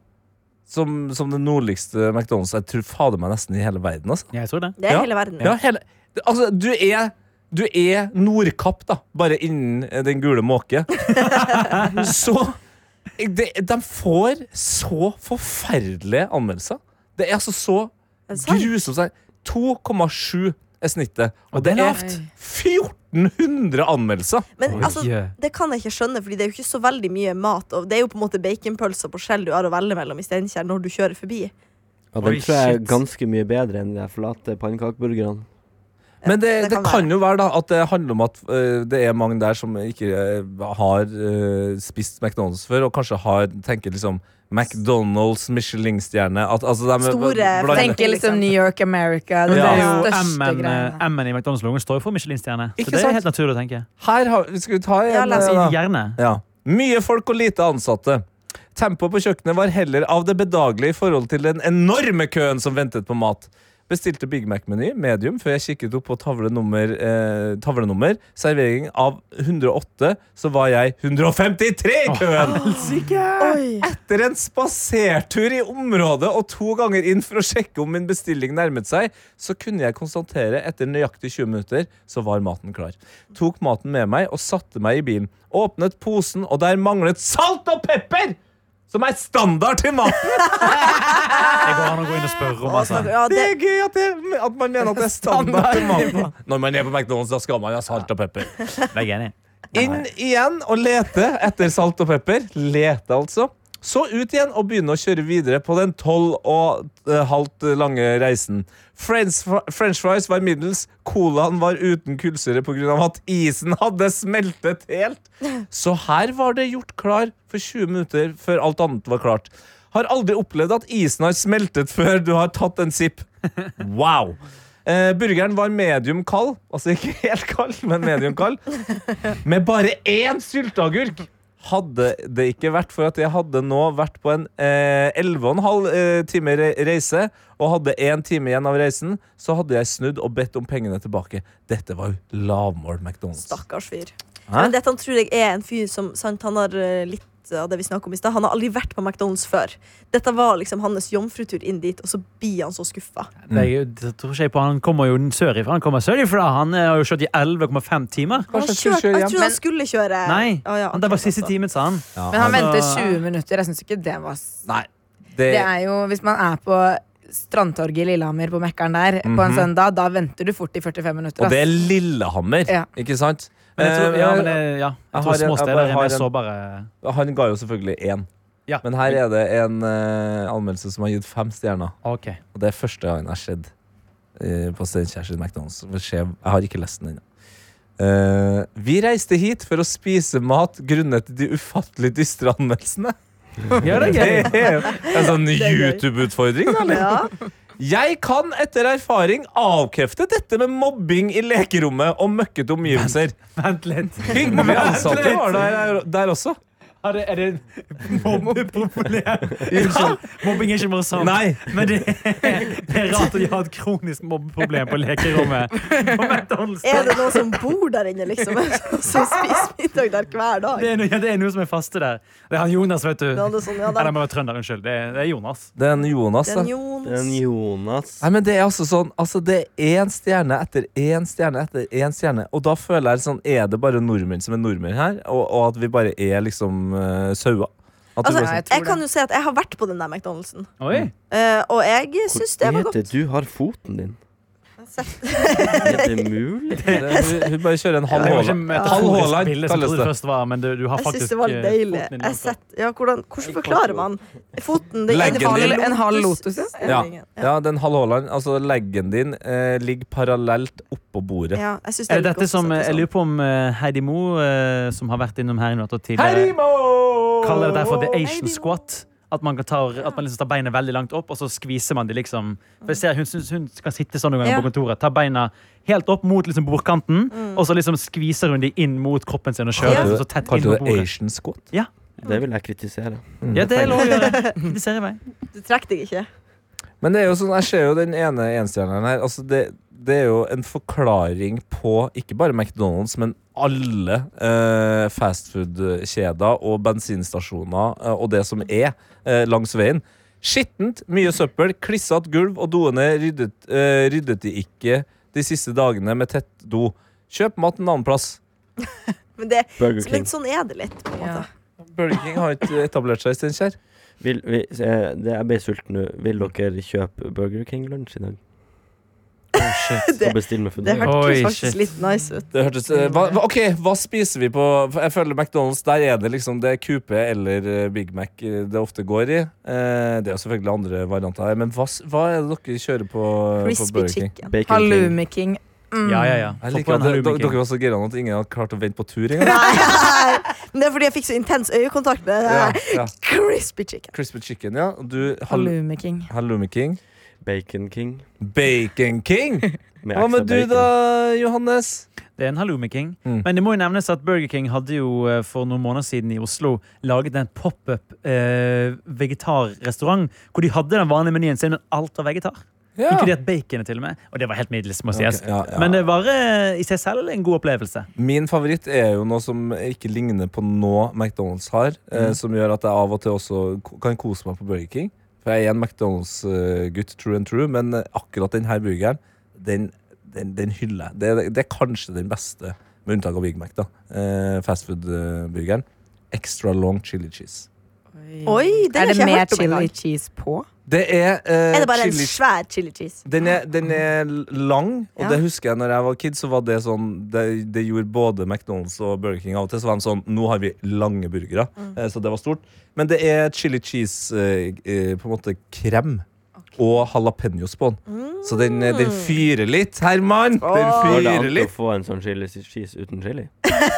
Speaker 3: Som, som den nordligste McDonald's. Jeg tror fader meg nesten i hele verden. Altså.
Speaker 2: Ja, jeg tror det.
Speaker 4: Det er
Speaker 3: Ja.
Speaker 4: hele verden.
Speaker 3: Ja, hele, altså, du er du er Nordkapp, da, bare innen eh, den gule måke. så de, de får så forferdelige anmeldelser. Det er altså så
Speaker 4: Er det sant?
Speaker 3: grusomt. sånn. 2,7 er snittet. Og
Speaker 2: Og det er
Speaker 3: det er
Speaker 2: lavt.
Speaker 3: 1400 anmeldelser!
Speaker 4: Men altså,
Speaker 2: Oi.
Speaker 4: det kan jeg ikke skjønne, Fordi det er jo ikke så veldig mye mat. Og det er jo på en måte baconpølser på skjell du har å velge mellom i Steinkjer når du kjører forbi.
Speaker 5: Ja, den
Speaker 2: Oi,
Speaker 5: tror jeg er
Speaker 2: shit.
Speaker 5: ganske mye bedre enn de der flate pannekakeburgerne.
Speaker 3: Men det,
Speaker 4: det
Speaker 3: det
Speaker 4: kan
Speaker 3: kan jo være da at det handler om at eh, det er mange der som ikke eh, har eh, spist McDonald's før, og kanskje har, tenker liksom McDonald's, Michelin-stjerne at, altså, de,
Speaker 4: Store
Speaker 3: blander-
Speaker 4: tenker-
Speaker 6: Tenker liksom New York, America. Det
Speaker 2: Men det
Speaker 6: er
Speaker 2: er
Speaker 6: jo
Speaker 2: jo eh,
Speaker 6: største
Speaker 2: M-en
Speaker 6: greiene.
Speaker 2: M-en i McDonald's-logoen står jo for Michelin-stjerne. Så
Speaker 3: Ikke
Speaker 2: det
Speaker 3: sant?
Speaker 2: er helt naturlig å tenke.
Speaker 3: Her har, skal vi ta en
Speaker 4: Ja, la oss
Speaker 3: eh,
Speaker 4: si
Speaker 3: da?
Speaker 2: Gjerne.
Speaker 3: Ja. Mye folk og lite ansatte. Tempoet på kjøkkenet var heller av det bedagelige i forhold til den enorme køen som ventet på mat. Bestilte Big Mac-meny medium før jeg kikket opp på tavlenummer. Eh, tavlenummer. Servering av 108, så var jeg 153 i køen!
Speaker 4: Oi.
Speaker 3: Etter en spasertur i området og to ganger inn for å sjekke om min bestilling nærmet seg, så kunne jeg konstatere etter nøyaktig 20 minutter så var maten klar. Tok maten med meg og satte meg i bilen. Åpnet posen, og der manglet salt og pepper! Som er standard til maten!
Speaker 2: Det går an å gå inn og spørre om altså.
Speaker 4: Ja,
Speaker 3: Det
Speaker 4: det,
Speaker 3: er gøy at, det, at man mener at det er standard til maten. Når man er på McDonald's, da skal man ha salt og pepper.
Speaker 2: Det er jeg enig. i.
Speaker 3: Inn igjen og lete etter salt og pepper. Lete, altså. Så ut igjen og begynne å kjøre videre på den tolv og eh, halvt lange reisen. French, fri- French fries var middels, colaen var uten kullsyre pga. at isen hadde smeltet helt. Så her var det gjort klar for 20 minutter før alt annet var klart. Har aldri opplevd at isen har smeltet før du har tatt en sipp. Wow! Eh, burgeren var medium kald. Altså ikke helt kald, men medium kald. Med bare én sylteagurk! Hadde det ikke vært for at jeg hadde nå vært på en eh, 11,5 eh, time re reise, og hadde én time igjen av reisen, så hadde jeg snudd og bedt om pengene tilbake. Dette var jo lavmål McDonald's.
Speaker 4: stakkars fyr.
Speaker 3: Hæ?
Speaker 4: Men dette tror jeg er en fyr som sant, han har eh, litt av det vi snakket om i sted. Han har aldri vært på McDonald's før. Dette var liksom hans jomfrutur inn dit, og så blir han så skuffa.
Speaker 3: Mm.
Speaker 2: Det er jo- det tror ikke jeg på. Han kommer jo sørifra. Han kommer sørifra. Han eh, har jo kjørt i 11,5 timer.
Speaker 4: Han
Speaker 3: Kanskje han skulle
Speaker 4: kjørte-
Speaker 3: kjøre
Speaker 4: jeg
Speaker 3: hjem?
Speaker 4: tror han skulle kjøre.
Speaker 2: Nei,
Speaker 4: Å, ja,
Speaker 2: det var
Speaker 4: ok,
Speaker 2: siste
Speaker 4: altså.
Speaker 2: timen, sa han.
Speaker 6: Men han
Speaker 2: Altså-
Speaker 6: ventet 20 minutter. Jeg syns ikke det var s-
Speaker 3: Nei, det,
Speaker 6: Det er jo, Hvis man er på Strandtorget i Lillehammer på Mekkeren der på en søndag, da venter du fort i 45 minutter.
Speaker 3: Og det er
Speaker 6: ass.
Speaker 3: Lillehammer,
Speaker 6: Ja.
Speaker 3: ikke sant?
Speaker 2: Men jeg tror,
Speaker 3: Eh,
Speaker 2: ja, men jeg, ja. jeg tror
Speaker 3: har en-
Speaker 2: små
Speaker 3: jeg
Speaker 2: steder
Speaker 3: bare
Speaker 2: er
Speaker 3: har
Speaker 2: mer
Speaker 3: en-
Speaker 2: sårbare.
Speaker 3: Eh, Han ga jo selvfølgelig én.
Speaker 2: Ja.
Speaker 3: Men her er det en eh, anmeldelse som har gitt fem stjerner.
Speaker 2: Ok.
Speaker 3: Og det er første gangen jeg har skjedd eh, på Steinkjer sin McDonald's. Det skjer- Jeg har ikke lest den ennå. Eh, vi reiste hit for å spise mat grunnet de ufattelig dystre anmeldelsene.
Speaker 2: Ja, det er gøy.
Speaker 3: Det er en sånn YouTube-utfordring. da, eller?
Speaker 4: Ja.
Speaker 3: Jeg kan etter erfaring avkrefte dette med mobbing i lekerommet og møkkete omgivelser.
Speaker 2: Vent litt.
Speaker 3: Hyggelige ansatte var der, der også.
Speaker 2: Er det, er det mobbepopulært? Ja, mobbing er ikke morsomt.
Speaker 3: Nei.
Speaker 2: Men det er, det er rart at de har et kronisk mobbeproblem på lekerommet. På McDonald's.
Speaker 4: Er det noen som bor der inne, liksom? Som spiser middag der hver dag?
Speaker 2: Det er, noe, ja, det er noe som er faste der. Det er han Jonas, vet du.
Speaker 4: Ja, det er sånn, ja,
Speaker 2: Eller
Speaker 4: der.
Speaker 2: han må være trønder, unnskyld. Det er, det er Jonas.
Speaker 3: Den Jonas, da.
Speaker 4: Den Jonas.
Speaker 5: Den Jonas.
Speaker 3: Nei, men Det er altså sånn, altså det er én stjerne etter én stjerne etter én stjerne. Og da føler jeg sånn, er det bare nordmenn som er nordmenn her? Og, og at vi bare er liksom uh, sauer? At du
Speaker 4: Altså,
Speaker 3: bare
Speaker 6: Nei,
Speaker 3: sånn,
Speaker 6: jeg tror
Speaker 4: jeg kan
Speaker 6: det.
Speaker 4: jo si at jeg har vært på den der McDonald'sen,
Speaker 2: Oi.
Speaker 3: Mm.
Speaker 4: Eh, og jeg syns det var
Speaker 5: Hvor
Speaker 4: godt.
Speaker 5: er det du har foten din?
Speaker 4: Sett.
Speaker 5: Er det mulig?
Speaker 3: det, hun, hun bare kjører en halv
Speaker 2: Det var ikke
Speaker 3: Haaland. Halv
Speaker 2: metaforisk
Speaker 3: Haaland,
Speaker 2: bilde som
Speaker 3: kalles
Speaker 2: trodde
Speaker 3: det.
Speaker 2: det først var, men du, du har
Speaker 4: Jeg syns
Speaker 2: faktisk
Speaker 4: det var
Speaker 2: eh,
Speaker 4: deilig.
Speaker 2: foten din
Speaker 4: Jeg
Speaker 2: også.
Speaker 4: sett, ja, hvordan, hvordan forklarer man foten? Det
Speaker 3: Leggen
Speaker 4: ene-
Speaker 3: din.
Speaker 6: En halv lotus, ja.
Speaker 3: Ja.
Speaker 4: Ja.
Speaker 3: ja, den halv Haaland, altså leggen din, eh, ligger parallelt oppå bordet.
Speaker 4: Ja, jeg synes det
Speaker 2: Er
Speaker 4: er
Speaker 2: det
Speaker 4: litt
Speaker 2: dette
Speaker 4: godt å
Speaker 2: som,
Speaker 4: sette
Speaker 2: Jeg
Speaker 4: sånn.
Speaker 2: lurer på om eh, Heidi Mo, eh, som har vært innom her i natt og tidligere,
Speaker 3: Herimo!
Speaker 2: kaller det derfor the
Speaker 4: Heidi
Speaker 2: Asian
Speaker 4: Mo.
Speaker 2: squat. At man, kan ta, at man liksom tar beina veldig langt opp, og så skviser man de liksom For jeg ser Hun, synes hun kan sitte sånn noen ganger
Speaker 4: Ja.
Speaker 2: på kontoret. Ta beina helt opp mot liksom bordkanten, og så liksom skviser hun de inn mot kroppen sin og kjører
Speaker 3: Kalte
Speaker 2: liksom
Speaker 3: du-
Speaker 2: så tett inn
Speaker 3: Kalte du
Speaker 2: mot
Speaker 3: det
Speaker 2: bordet.
Speaker 3: Asian squat?
Speaker 5: Det vil jeg kritisere.
Speaker 2: Ja, det er lov å gjøre. Kritiserer meg.
Speaker 4: sånn- Du trekk deg ikke.
Speaker 3: Men det er jo sånn, jeg ser jo den ene enstjerneren her. Altså det, det er jo en forklaring på ikke bare McDonald's, men alle eh, fastfood-kjeder og bensinstasjoner eh, og det som er eh, langs veien. Skittent, mye søppel, klissete gulv, og doene ryddet, eh, ryddet de ikke de siste dagene med tett do. Kjøp mat en annen plass.
Speaker 4: Men, det,
Speaker 5: Burger
Speaker 4: men
Speaker 5: King.
Speaker 4: sånn er det litt. På en måte.
Speaker 3: Burger King har ikke etablert seg i Steinkjer.
Speaker 5: Vil, vi, se, det, jeg ble sulten nå. Vil dere kjøpe Burger King-lunsj i dag?
Speaker 4: Det-
Speaker 5: Og bestille med
Speaker 4: Det
Speaker 5: Foodora?
Speaker 2: Oi,
Speaker 4: hørtes faktisk
Speaker 2: shit.
Speaker 4: litt nice ut.
Speaker 3: Det hørtes eh, hva, hva- Ok, hva spiser vi på Jeg føler McDonald's, der er det liksom Det er QP eller eh, Big Mac eh, det ofte går i. Eh, Det er jo selvfølgelig andre varianter her, men hva, s- hva er det dere kjører på, på
Speaker 4: Crispy
Speaker 3: Burger King?
Speaker 4: chicken.
Speaker 5: Bacon King.
Speaker 6: Halloumi King
Speaker 2: Ja, ja, ja.
Speaker 3: Jeg
Speaker 2: Få
Speaker 3: liker
Speaker 2: på
Speaker 3: at
Speaker 2: den
Speaker 3: dere,
Speaker 2: Halloumi
Speaker 3: dere
Speaker 2: King.
Speaker 3: var så gira nå at ingen hadde klart å vente på tur engang.
Speaker 4: Nei, Men det er fordi jeg fikk så intens øyekontakt med det
Speaker 3: Ja,
Speaker 4: her.
Speaker 3: ja.
Speaker 4: Crispy chicken.
Speaker 3: Crispy chicken, ja. Og du, hall
Speaker 6: Halloumi King.
Speaker 3: Halloumi King.
Speaker 5: Bacon King.
Speaker 3: Bacon King!
Speaker 5: med
Speaker 3: Hva med
Speaker 5: ekstra
Speaker 3: du
Speaker 5: bacon.
Speaker 3: da, Johannes?
Speaker 2: Det er en Halloumi King.
Speaker 3: Mm.
Speaker 2: Men det må jo nevnes at Burger King hadde jo eh, for noen måneder siden i Oslo laget en pop-up eh, vegetarrestaurant hvor de hadde den vanlige menyen sin, men alt var vegetar.
Speaker 3: Ja.
Speaker 2: Inkludert baconet, til og med. Og det var helt middels, må sies.
Speaker 3: Ok, ja, ja.
Speaker 2: Men det var eh, i seg selv en god opplevelse.
Speaker 3: Min favoritt er jo noe som ikke ligner på noe McDonald's har, eh, som gjør at jeg av og til også ko- kan kose meg på Burger King. For jeg er en McDonald's-gutt, true and true, men eh, akkurat denne burgeren, den, den, den hyller jeg. Det, er- det er kanskje den beste, med unntak av Big Mac, da. Eh, Fastfood-burgeren. Extra long chili cheese.
Speaker 4: Oi, den har ikke
Speaker 6: er det
Speaker 4: jeg
Speaker 6: mer
Speaker 4: hørt om engang.
Speaker 6: chili cheese på?
Speaker 3: Det er, eh,
Speaker 4: Er det bare en
Speaker 3: chili
Speaker 4: svær chili cheese?
Speaker 3: Den er, den er lang, og
Speaker 4: Ja.
Speaker 3: det husker jeg når jeg var kid. Så var Det sånn Det, det gjorde både McDonald's og Burger King av og til. Så var de sånn Nå har vi lange burgere. Eh, Så det var stort. Men det er chili cheese eh, eh, På en måte krem. Og jalapeños på den. Så den, eh, den fyrer litt, Herman! Den
Speaker 5: Går det
Speaker 3: fyrer
Speaker 5: an å
Speaker 3: litt.
Speaker 5: få en sånn chili cheese uten chili?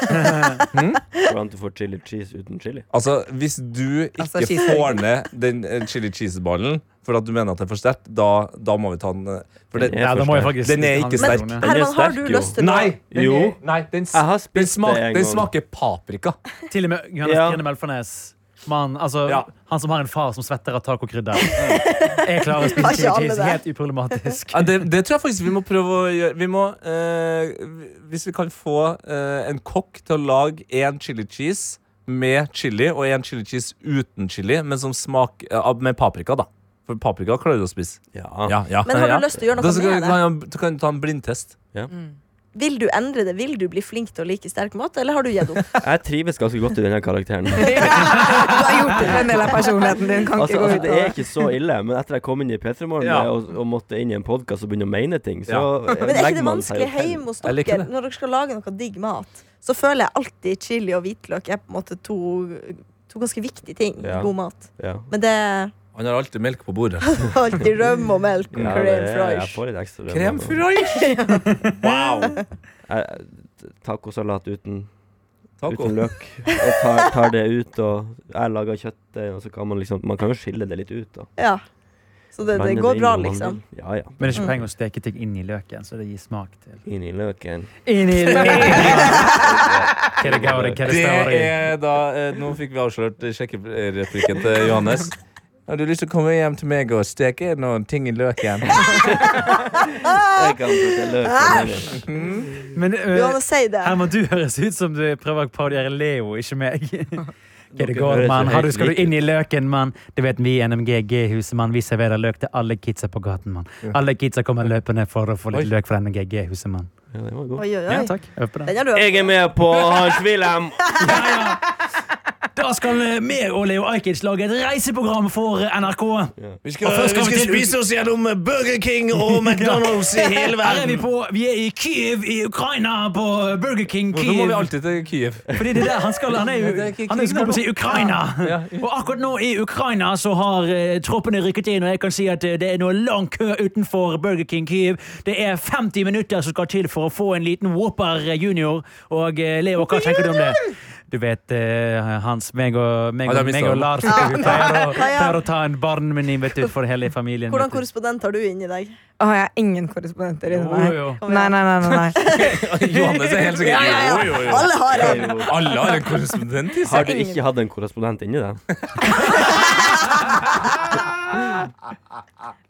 Speaker 5: Går det an å få chili cheese uten chili?
Speaker 3: Altså, hvis du ikke
Speaker 6: Altså, cheeseburger.
Speaker 3: får ned den eh, chili cheese-ballen for at du mener at det er for sterkt, da, da må vi ta den. eh, For
Speaker 5: Den
Speaker 3: den,
Speaker 5: er
Speaker 2: Ja, da må jeg faktisk
Speaker 3: Den er ikke sterk.
Speaker 2: Nei,
Speaker 5: er
Speaker 4: Herman, har
Speaker 5: sterk,
Speaker 4: du
Speaker 5: jo.
Speaker 4: lyst til å
Speaker 3: Nei! Den,
Speaker 5: Jo.
Speaker 3: er- Nei, den, s-
Speaker 5: Jeg har spist
Speaker 3: den, smak,
Speaker 5: det en
Speaker 3: den
Speaker 5: gang.
Speaker 3: smaker paprika.
Speaker 2: Til og med Johannes
Speaker 5: Ja.
Speaker 2: Grine Melfarnes. Mann, altså,
Speaker 3: Ja.
Speaker 2: Han som har en far som svetter av tacokrydder. Jeg klarer å
Speaker 4: Har
Speaker 2: spise
Speaker 4: ikke
Speaker 2: chili
Speaker 4: alle
Speaker 2: cheese
Speaker 4: det?
Speaker 2: helt uproblematisk.
Speaker 3: Ja, det, det tror jeg faktisk vi må prøve å gjøre. Vi må, eh, hvis vi kan få eh, en kokk til å lage én chili cheese med chili og én chili cheese uten chili, men som smak, eh, med paprika, da. For paprika klarer du å spise.
Speaker 5: Ja.
Speaker 3: Ja, ja,
Speaker 4: Men har
Speaker 3: ja.
Speaker 4: du lyst til å gjøre
Speaker 3: Da skal,
Speaker 4: noe med det?
Speaker 3: kan, du kan ta en blindtest.
Speaker 4: Vil du endre det? Vil du bli flink til å like sterk mat, eller har du gitt opp?
Speaker 5: Jeg trives ganske godt i denne karakteren.
Speaker 6: Du har gjort det til en del av personligheten din. Kan
Speaker 5: Altså, altså,
Speaker 6: ikke gå ut
Speaker 5: det
Speaker 6: over-
Speaker 5: er ikke så ille, men etter jeg kom inn i P3 Morgen
Speaker 3: Ja.
Speaker 5: og, og måtte inn i en podkast og begynne å mene ting, så
Speaker 3: Ja.
Speaker 5: eh,
Speaker 4: Men er ikke
Speaker 5: legger
Speaker 4: det
Speaker 5: man seg
Speaker 4: vanskelig
Speaker 5: jo til.
Speaker 4: hjemme hos
Speaker 3: Jeg liker
Speaker 4: dere
Speaker 3: det.
Speaker 4: når dere skal lage noe digg mat? Så føler jeg alltid chili og hvitløk er på en måte to, to ganske viktige ting i
Speaker 5: Ja.
Speaker 4: god mat.
Speaker 5: Ja.
Speaker 4: Men det
Speaker 3: Han har alltid melk på bordet.
Speaker 4: er alltid rømme og melk og
Speaker 5: Ja, det
Speaker 4: crème
Speaker 5: er, jeg
Speaker 4: fraiche.
Speaker 5: får litt ekstra
Speaker 3: Krem fraiche! Wow!
Speaker 5: Jeg- Eh, Tacosalat uten,
Speaker 3: Taco.
Speaker 5: uten løk. Jeg tar, tar det ut, og jeg lager kjøttdeig, og så kan man liksom Man kan jo skille det litt ut, da.
Speaker 4: Ja. Så det, det
Speaker 5: Blande
Speaker 4: går
Speaker 5: inn
Speaker 4: bra,
Speaker 5: om man
Speaker 4: liksom.
Speaker 5: vil. Ja, ja.
Speaker 2: Men det er
Speaker 3: Mm.
Speaker 2: ikke poeng å steke ting inn i løken, så det gir smak til
Speaker 5: Inn i løken.
Speaker 2: Inn i
Speaker 3: Det
Speaker 2: løken!
Speaker 3: er da eh, Nå fikk vi avslørt eh, sjekkereplikken til Johannes. Har du lyst til å komme hjem til meg og steke noen ting i løken?
Speaker 4: Ah!
Speaker 5: Jeg kan putte løk i løken.
Speaker 2: Men eh,
Speaker 4: Johanne, si det.
Speaker 2: Herman, du høres ut som du prøver å parodiere Leo, ikke meg. Hva det
Speaker 5: Dere
Speaker 2: går,
Speaker 5: høres
Speaker 2: mann?
Speaker 5: jo
Speaker 2: Har du-
Speaker 5: helt
Speaker 2: Skal du
Speaker 5: like
Speaker 2: inn i løken, mann? Det vet vi i NMGG-huset, mann. Vi serverer løk til alle kidsa på gaten, mann. Alle kidsa kommer løpende for å få litt løk fra NMGG-huset, mann.
Speaker 5: Ja, det var godt.
Speaker 4: Oi, oi,
Speaker 2: Ja,
Speaker 4: oi.
Speaker 2: takk. Øv på det.
Speaker 4: Den har du
Speaker 5: Jeg er med på Hans-Wilhelm.
Speaker 2: Da skal eh, meg og Leo Ajkic lage et reiseprogram for eh, NRK.
Speaker 3: Vi
Speaker 2: Og først skal vi til-
Speaker 3: oss gjennom Burger King og McDonald's i hele
Speaker 2: Her er vi på Vi er i Kyiv i Ukraina, på Burger King
Speaker 3: Hvorfor må vi
Speaker 2: Kyiv.
Speaker 3: alltid til Kyiv?
Speaker 2: Fordi det er der han skal. Han er jo
Speaker 3: det er ikke
Speaker 2: han er jo
Speaker 3: krig
Speaker 2: skal
Speaker 3: nå.
Speaker 2: på å si Ukraina. Og akkurat nå i Ukraina så har eh, troppene rykket inn, og jeg kan si at eh, det er noe lang kø utenfor Burger King Kyiv. Det er 50 minutter som skal til for å få en liten Whopper junior. Og eh, Leo, hva tenker du om det? Du vet, eh, Hans, meg og, meg,
Speaker 3: Ja, det
Speaker 2: og,
Speaker 3: er
Speaker 2: meg og
Speaker 3: mistet.
Speaker 2: Lars
Speaker 4: Ja.
Speaker 2: vi pleier å,
Speaker 4: Ja, ja.
Speaker 2: pleier å ta en barnmeny vet du, for hele familien. vet
Speaker 4: Hvordan
Speaker 2: du.
Speaker 4: korrespondent har du inn i dag?
Speaker 6: Å, jeg har ingen korrespondenter inni
Speaker 2: Jo,
Speaker 6: meg.
Speaker 2: jo, jo.
Speaker 6: Nei, nei, nei. nei, nei.
Speaker 3: Johannes er helt sikkert
Speaker 4: ja.
Speaker 3: Jo, jo, jo.
Speaker 4: Alle har en!
Speaker 3: Alle har en korrespondent i
Speaker 5: Har
Speaker 3: seg.
Speaker 5: du ikke hatt en korrespondent inni deg?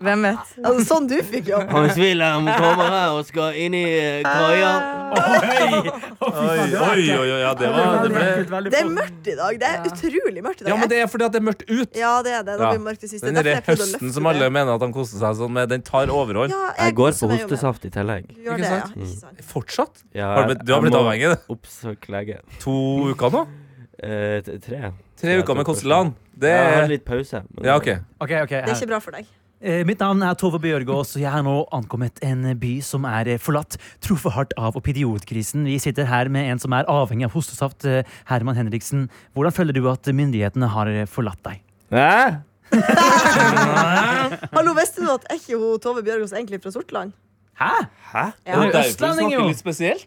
Speaker 6: Hvem vet?
Speaker 4: Altså, sånn du fikk jobb.
Speaker 5: Hans-Wilhelm kommer her og skal inn i eh, kaia.
Speaker 4: Ah.
Speaker 3: Oi, oi, oi, oi, ja, det var det ble.
Speaker 4: Det er mørkt i dag. Det er utrolig mørkt i dag.
Speaker 3: Ja, men det er fordi at det er mørkt ut.
Speaker 4: Ja, det er det. Det
Speaker 3: Ja.
Speaker 4: blir mørkt i siste.
Speaker 3: Den
Speaker 4: Derfor
Speaker 3: derre
Speaker 4: jeg prøvde å
Speaker 3: høsten
Speaker 4: løfte
Speaker 3: som alle
Speaker 4: det.
Speaker 3: mener at han koser seg sånn med, den tar overhånd.
Speaker 4: Ja,
Speaker 5: Jeg går på
Speaker 4: koser meg jo med det.
Speaker 5: hostesaft i tillegg.
Speaker 4: Du gjør
Speaker 3: Ikke
Speaker 4: det, ja.
Speaker 3: sant? Mm.
Speaker 4: Ikke sant?
Speaker 3: Fortsatt?
Speaker 5: Ja,
Speaker 3: Har du blitt- du har
Speaker 5: jeg
Speaker 3: blitt
Speaker 5: må
Speaker 3: avhengig, du.
Speaker 5: Oppsøke lege.
Speaker 3: To uker nå?
Speaker 5: Eh, t- tre.
Speaker 3: Tre uker med kosteland. Det
Speaker 5: Jeg har
Speaker 3: er
Speaker 5: litt pause. men-
Speaker 3: Ja, OK.
Speaker 2: Ok, ok,
Speaker 4: Det er
Speaker 2: her.
Speaker 4: ikke bra for deg.
Speaker 2: Eh, Mitt navn er Tove Bjørgaas, og jeg er nå ankommet en by som er eh, forlatt, truffet hardt av opidiotkrisen. Vi sitter her med en som er avhengig av hostesaft, eh, Herman Henriksen. Hvordan føler du at myndighetene har eh, forlatt deg?
Speaker 5: Hæ?
Speaker 4: Hallo, visste du at er ikke hun Tove Bjørgaas egentlig fra Sortland?
Speaker 2: Hæ?
Speaker 5: Hæ?
Speaker 4: Ja.
Speaker 2: Hun er
Speaker 3: Derfor
Speaker 2: østlending,
Speaker 3: snakker
Speaker 2: jo.
Speaker 3: litt spesielt.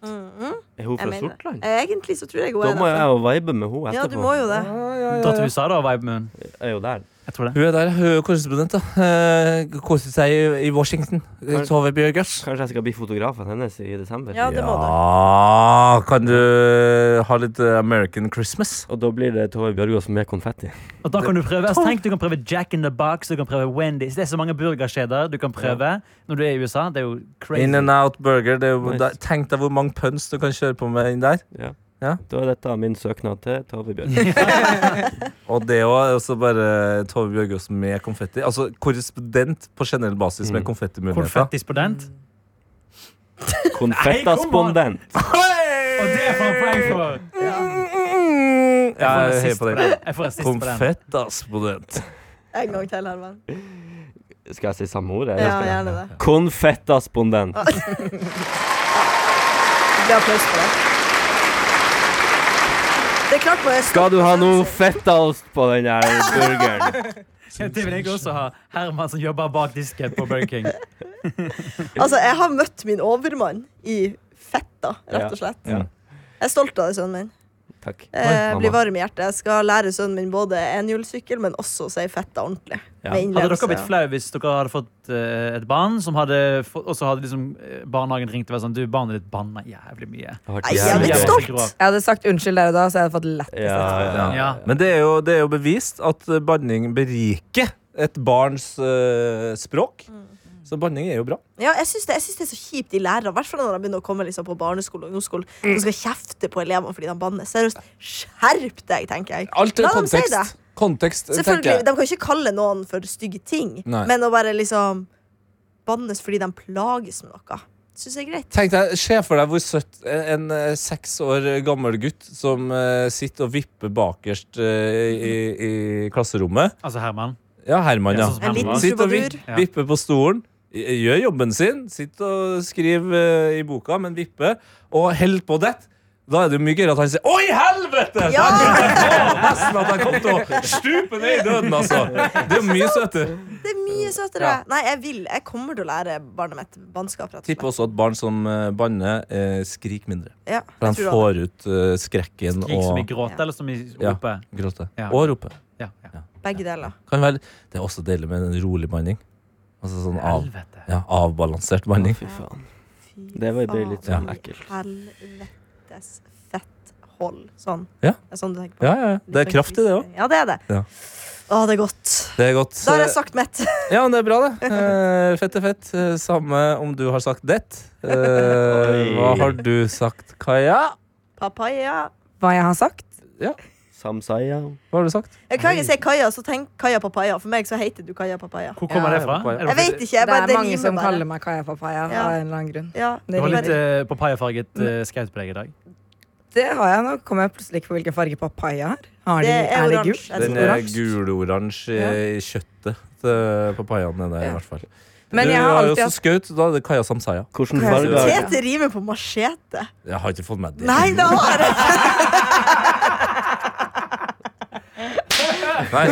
Speaker 5: Er hun fra
Speaker 4: Jeg mener det.
Speaker 5: Sortland?
Speaker 4: Egentlig så tror jeg hun
Speaker 5: Da
Speaker 4: er
Speaker 5: må
Speaker 4: derfra.
Speaker 5: jeg jo vibe med henne etterpå.
Speaker 4: Ja, du må jo det.
Speaker 2: Dra til USA, da, og vibe med hun.
Speaker 5: Jeg er jo der.
Speaker 2: Jeg tror det.
Speaker 3: Hun er der, hun er korrespondent. da Eh, Koser seg i, i Washington. Eh, Tove Bjørgers.
Speaker 5: Kanskje jeg skal bli fotografen hennes i desember.
Speaker 4: Ja, det må du.
Speaker 3: Ja, kan du ha litt eh, American Christmas?
Speaker 5: Og da blir det Tove Bjørgaas med konfetti.
Speaker 2: Og da kan du prøve altså, Tenk, du kan prøve Jack in the Box, du kan prøve Wendy's. Det er så mange burgerkjeder du kan prøve når du er i USA. Det er jo crazy.
Speaker 3: In and out burger. Det er, jo-
Speaker 5: Nice.
Speaker 3: da- Tenk deg hvor mange puns du kan kjøre på med inn der.
Speaker 5: Ja.
Speaker 3: Ja.
Speaker 5: Da er dette min søknad til Tove Bjørgaas.
Speaker 3: Og det òg er også bare Tove Bjørgaas med konfetti. Altså korrespondent på generell basis med
Speaker 5: Mm.
Speaker 3: konfettimuligheter.
Speaker 2: Konfettispodent.
Speaker 5: Konfettaspondent.
Speaker 2: Og det er for poeng for!
Speaker 3: Ja,
Speaker 2: Jeg får
Speaker 3: jeg heier
Speaker 2: rasist
Speaker 3: på
Speaker 2: den.
Speaker 3: deg.
Speaker 2: Jeg får rasist på den.
Speaker 3: Konfettasponent.
Speaker 4: En gang til, Herman.
Speaker 5: Skal jeg si samme ord? eller
Speaker 4: Ja,
Speaker 5: skal jeg-
Speaker 4: gjerne det.
Speaker 5: Konfettaspondent.
Speaker 4: Det blir applaus for det. Det er klart man er stolt
Speaker 5: Skal du ha
Speaker 4: av
Speaker 5: noe
Speaker 4: seg.
Speaker 5: fettost på den her burgeren?
Speaker 2: Det vil jeg også ha. Herman som jobber bak disken på Burger King.
Speaker 4: Altså, jeg har møtt min overmann i fetta, rett og slett.
Speaker 5: Ja.
Speaker 4: Jeg er stolt av det, sønnen min.
Speaker 5: Takk.
Speaker 4: Jeg
Speaker 5: mamma.
Speaker 4: blir Eh, varm i hjertet. Jeg skal lære sønnen min både enhjulssykkel, men også å si fetta ordentlig. Med
Speaker 5: Ja.
Speaker 2: Hadde
Speaker 4: innledelse.
Speaker 2: dere blitt flau hvis dere hadde fått eh, et barn, som hadde fått- og så hadde liksom eh, barnehagen ringt og vært sånn Du, barnet ditt banner jævlig mye.
Speaker 5: Det har vært
Speaker 4: Nei, jeg
Speaker 2: Så
Speaker 4: er
Speaker 5: jævlig
Speaker 4: blitt
Speaker 2: jævlig
Speaker 5: gøy.
Speaker 4: stolt.
Speaker 2: grovt.
Speaker 6: Jeg hadde sagt unnskyld der og da, så jeg hadde fått lett.
Speaker 5: Ja, ja, ja.
Speaker 2: Ja.
Speaker 3: Men det er, jo, det er jo bevist at eh, banning beriker et barns eh, språk.
Speaker 4: Mm.
Speaker 3: Så banning er jo bra.
Speaker 4: Ja, jeg syns det, jeg synes det er så kjip de lærere, i hvert fall når de begynner å komme liksom, på barneskole og ungdomsskole,
Speaker 3: Mm.
Speaker 4: som skal kjefte på elevene fordi de banner. Seriøst, skjerp deg, tenker jeg.
Speaker 3: Alt er
Speaker 4: La dem si
Speaker 3: kontekst.
Speaker 4: det.
Speaker 3: Kontekst, tenker
Speaker 4: Selvfølgelig,
Speaker 3: jeg.
Speaker 4: De kan ikke kalle noen for stygge ting,
Speaker 3: Nei.
Speaker 4: men å bare liksom bannes fordi de plages med noe, syns jeg er greit.
Speaker 3: Tenk deg, Se for deg hvor søtt en en, eh, seks år gammel gutt som eh, sitter og vipper bakerst eh, i, i klasserommet.
Speaker 2: Altså Herman.
Speaker 3: Ja, Herman,
Speaker 2: Ja,
Speaker 3: ja.
Speaker 2: sånn som
Speaker 4: En
Speaker 2: Herman
Speaker 4: liten
Speaker 2: var.
Speaker 3: Sitter og
Speaker 4: trubadur.
Speaker 3: vip, vipper på stolen. i- Gjør jobben sin. Sitter og skriver eh, i boka, men vipper. Og holder på dett. Da er det jo mye gøyere at han sier 'Oi, helvete!'
Speaker 4: Ja!
Speaker 3: Å, nesten at jeg kom til å stupe ned i døden, altså. Det er jo mye søtere.
Speaker 4: Det er mye søtere. Nei, jeg vil. Jeg kommer til å lære barnet mitt bannskap. rett og slett.
Speaker 3: Tipper også at barn som eh, banner, eh, skriker mindre.
Speaker 4: Ja,
Speaker 3: For
Speaker 4: jeg
Speaker 3: han
Speaker 4: tror det.
Speaker 3: får ut eh, skrekken
Speaker 2: Gikk som i
Speaker 3: og
Speaker 2: gråt, eller som i
Speaker 3: Ja.
Speaker 2: rope.
Speaker 3: gråte.
Speaker 2: Ja.
Speaker 3: Og rope.
Speaker 2: Ja. Ja.
Speaker 4: Begge deler.
Speaker 3: Kan være, det er også deilig med en rolig banning. Altså sånn av,
Speaker 2: Helvete.
Speaker 3: ja, avbalansert banning.
Speaker 5: Fy faen.
Speaker 4: Fy
Speaker 5: Det var- ble litt
Speaker 4: faen
Speaker 5: sånn
Speaker 4: i
Speaker 5: ekkelt.
Speaker 4: Helvetes fett hold. Sånn.
Speaker 3: Ja.
Speaker 4: Det er sånn du tenker på.
Speaker 3: Ja, ja, ja. Det er kraft i det òg.
Speaker 4: Ja, det er det.
Speaker 3: Ja.
Speaker 4: Å, det er godt.
Speaker 3: Det er godt. eh,
Speaker 4: Da har jeg sagt mitt.
Speaker 3: Ja, men det er bra, det. Eh, fett er fett. Eh, Samme om du har sagt det. Eh, hva har du sagt, Kaja?
Speaker 4: Papaya.
Speaker 6: Hva jeg har sagt?
Speaker 5: Samsaya.
Speaker 3: Hva har du sagt?
Speaker 4: Jeg kan ikke si Kaja, så tenk Kaja Papaya. For meg så heter du Kaja Papaya.
Speaker 2: Hvor kommer
Speaker 3: Ja,
Speaker 2: det fra?
Speaker 3: jeg var på-
Speaker 2: Er
Speaker 4: Jeg
Speaker 2: det,
Speaker 4: vet
Speaker 2: fordi-
Speaker 4: ikke. Jeg
Speaker 6: det
Speaker 4: bare,
Speaker 6: er mange som
Speaker 4: limer bare.
Speaker 6: kaller meg Kaja Papaya
Speaker 4: Ja.
Speaker 6: av en eller annen grunn.
Speaker 4: ja.
Speaker 2: det var litt
Speaker 4: bare-
Speaker 2: eh, papayafarget
Speaker 3: Mm.
Speaker 2: eh, skaut på deg i dag.
Speaker 6: Det har jeg nå. Kom jeg plutselig ikke på hvilken farge papaya har. har de,
Speaker 4: Det er
Speaker 6: er det
Speaker 4: oransje.
Speaker 6: gul?
Speaker 4: Jeg
Speaker 3: Den
Speaker 4: tror
Speaker 3: er
Speaker 4: oransje.
Speaker 3: guloransje i kjøttet til papayaen er der, i
Speaker 6: Ja.
Speaker 3: hvert fall.
Speaker 6: Men
Speaker 3: du
Speaker 6: jeg har
Speaker 3: har jo
Speaker 6: alltid
Speaker 3: også
Speaker 6: hatt
Speaker 3: skaut. Da er det Kaja Samsaya.
Speaker 5: Hvilken
Speaker 6: Hva er det?
Speaker 5: farge
Speaker 3: eh,
Speaker 5: har
Speaker 4: Tete rimer på machete.
Speaker 3: Jeg har ikke fått med det.
Speaker 4: Nei, det har jeg ikke.
Speaker 3: Nei.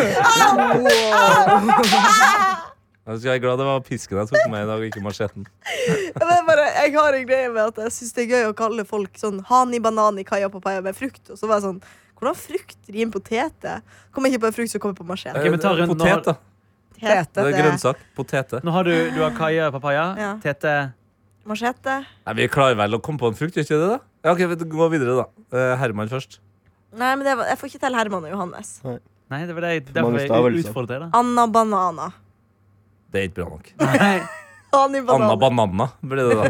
Speaker 3: Jeg skal være glad det var pisken jeg tok med i dag, og ikke machetten.
Speaker 4: Men jeg bare, jeg har en greie med at jeg syns det er gøy å kalle folk sånn hani, banani, kaja, papaya med frukt. Og så var jeg sånn Hvordan frukt rimer på tete? Kommer ikke på en frukt som kommer på machete.
Speaker 2: Ok, men ta runden.
Speaker 3: Eh, Potet, da.
Speaker 4: Tete,
Speaker 3: Det er
Speaker 4: det
Speaker 3: grønnsak. Potete.
Speaker 2: Nå har du, du har Kaja papaya.
Speaker 4: Ja.
Speaker 2: Tete.
Speaker 4: er machete.
Speaker 3: Nei, vi klarer vel å komme på en frukt, gjør ikke det, da? Ja, ok, vi Gå videre, da. Eh, Herman først.
Speaker 4: Nei, men det var, jeg får ikke til Herman og Johannes.
Speaker 2: Nei, det var det jeg,
Speaker 5: mange
Speaker 2: derfor jeg
Speaker 5: stavelser.
Speaker 2: utfordret deg. da.
Speaker 4: Anna Banana.
Speaker 3: Det er ikke bra nok.
Speaker 2: Nei.
Speaker 4: Hani
Speaker 3: Anna
Speaker 4: Banana.
Speaker 3: Banana blir det, da.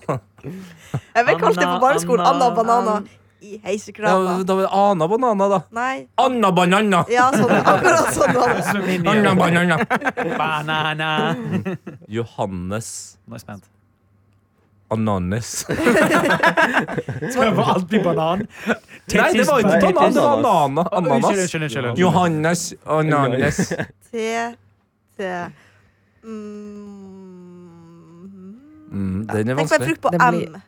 Speaker 4: Jeg ble kalt det på barneskolen.
Speaker 2: Anna-
Speaker 4: Anna Banana i
Speaker 3: Ja,
Speaker 4: heisekrana.
Speaker 3: da var det Ana Banana, da.
Speaker 4: Nei.
Speaker 3: Anna Banana!
Speaker 4: Ja, sånn, akkurat sånn var det.
Speaker 2: Svøm inn i
Speaker 3: Anna
Speaker 2: det.
Speaker 3: Banana!
Speaker 2: Banana.
Speaker 3: Johannes
Speaker 2: Nå er jeg spent.
Speaker 3: Ananes.
Speaker 2: Prøver alt blir banan.
Speaker 3: Nei, det var ikke banan, det var anana.
Speaker 2: Unnskyld,
Speaker 3: Ananas.
Speaker 2: unnskyld, unnskyld.
Speaker 3: Johannes Ananes.
Speaker 4: Tete mm.
Speaker 3: Mm, den er
Speaker 4: Tenk på en
Speaker 3: vanskelig.
Speaker 4: frukt på
Speaker 6: Det blir-
Speaker 4: M.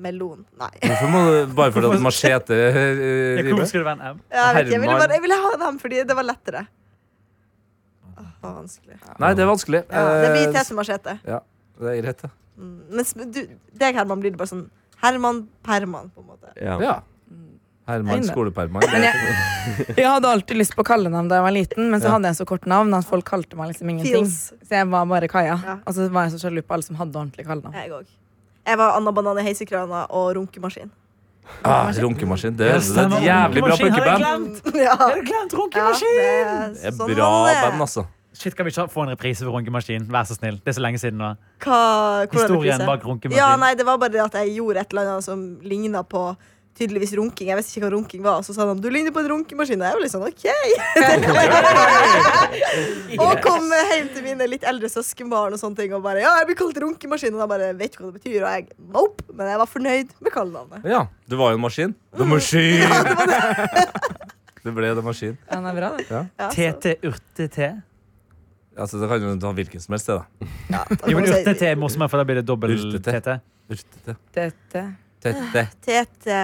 Speaker 4: Melon. Nei.
Speaker 3: Hvorfor må du Bare fordi at machete eh,
Speaker 2: Ja, Hvorfor
Speaker 3: rimer?
Speaker 2: skulle det være en M?
Speaker 4: Jeg, vet ikke, jeg, ville
Speaker 3: Herman.
Speaker 4: bare, jeg ville ha en M fordi det var lettere. Åh, det var vanskelig.
Speaker 3: Nei, det er vanskelig.
Speaker 4: Ja, det
Speaker 3: Eh,
Speaker 4: blir Tete Machete.
Speaker 3: ja. Det er greit, det.
Speaker 4: Mm. Mens du, deg, Herman, blir det bare sånn Herman Perman, på en måte.
Speaker 5: Ja.
Speaker 3: Ja. Herman
Speaker 6: Fine.
Speaker 3: skolepermann.
Speaker 6: Men Jeg hadde alltid lyst på kallenavn da jeg var liten, men så
Speaker 3: Ja.
Speaker 6: hadde jeg så kort navn at folk kalte meg liksom ingenting.
Speaker 4: Feels.
Speaker 6: Så jeg var bare Kaja.
Speaker 4: Ja.
Speaker 6: Og så var jeg så sjalu på alle som hadde ordentlig kallenavn.
Speaker 4: Jeg òg. Jeg var Anna Banan i heisekrana og runkemaskin.
Speaker 3: Ah, runkemaskin. Det,
Speaker 2: Ja,
Speaker 3: det er
Speaker 2: stemmer.
Speaker 3: et jævlig bra
Speaker 2: Runkemaskin, har jeg
Speaker 3: punkeband.
Speaker 2: glemt.
Speaker 4: ja.
Speaker 2: Har du glemt
Speaker 4: ja,
Speaker 2: runkemaskin?
Speaker 4: det
Speaker 3: Det er
Speaker 4: er sånn
Speaker 3: bra
Speaker 4: man er.
Speaker 3: band, altså.
Speaker 2: Shit, Kan vi ikke få en reprise for runkemaskin? Vær så snill. Det er så lenge siden nå.
Speaker 4: Hva, hvordan er det
Speaker 2: Historien
Speaker 4: priset?
Speaker 2: bak runkemaskin.
Speaker 4: Ja, nei, det var bare det at jeg gjorde et eller annet som ligna på tydeligvis runking. Jeg visste ikke hva runking var, og så sa de du ligner på en runkemaskin. Og jeg var litt sånn OK! Det kan jeg gjøre. og kom hjem til mine litt eldre søskenbarn og sånne ting og bare ja, jeg blir kalt runkemaskin. Og de bare vet ikke hva det betyr, og jeg nope. Men jeg var fornøyd med kallenavnet.
Speaker 3: Ja, du var jo en maskin. The Machine! det ble The Machine.
Speaker 6: Ja, den er bra, det.
Speaker 4: Ja, så-
Speaker 2: TT Urte-T.
Speaker 3: Altså, det kan jo ta hvilken som helst, det, da.
Speaker 4: ja, da kan
Speaker 2: Jo, men
Speaker 4: man si-
Speaker 2: urte-T er morsommere, for da blir det dobbel
Speaker 3: Urte-T.
Speaker 2: TT.
Speaker 3: Urtete.
Speaker 6: Dette.
Speaker 3: Tete.
Speaker 4: Tete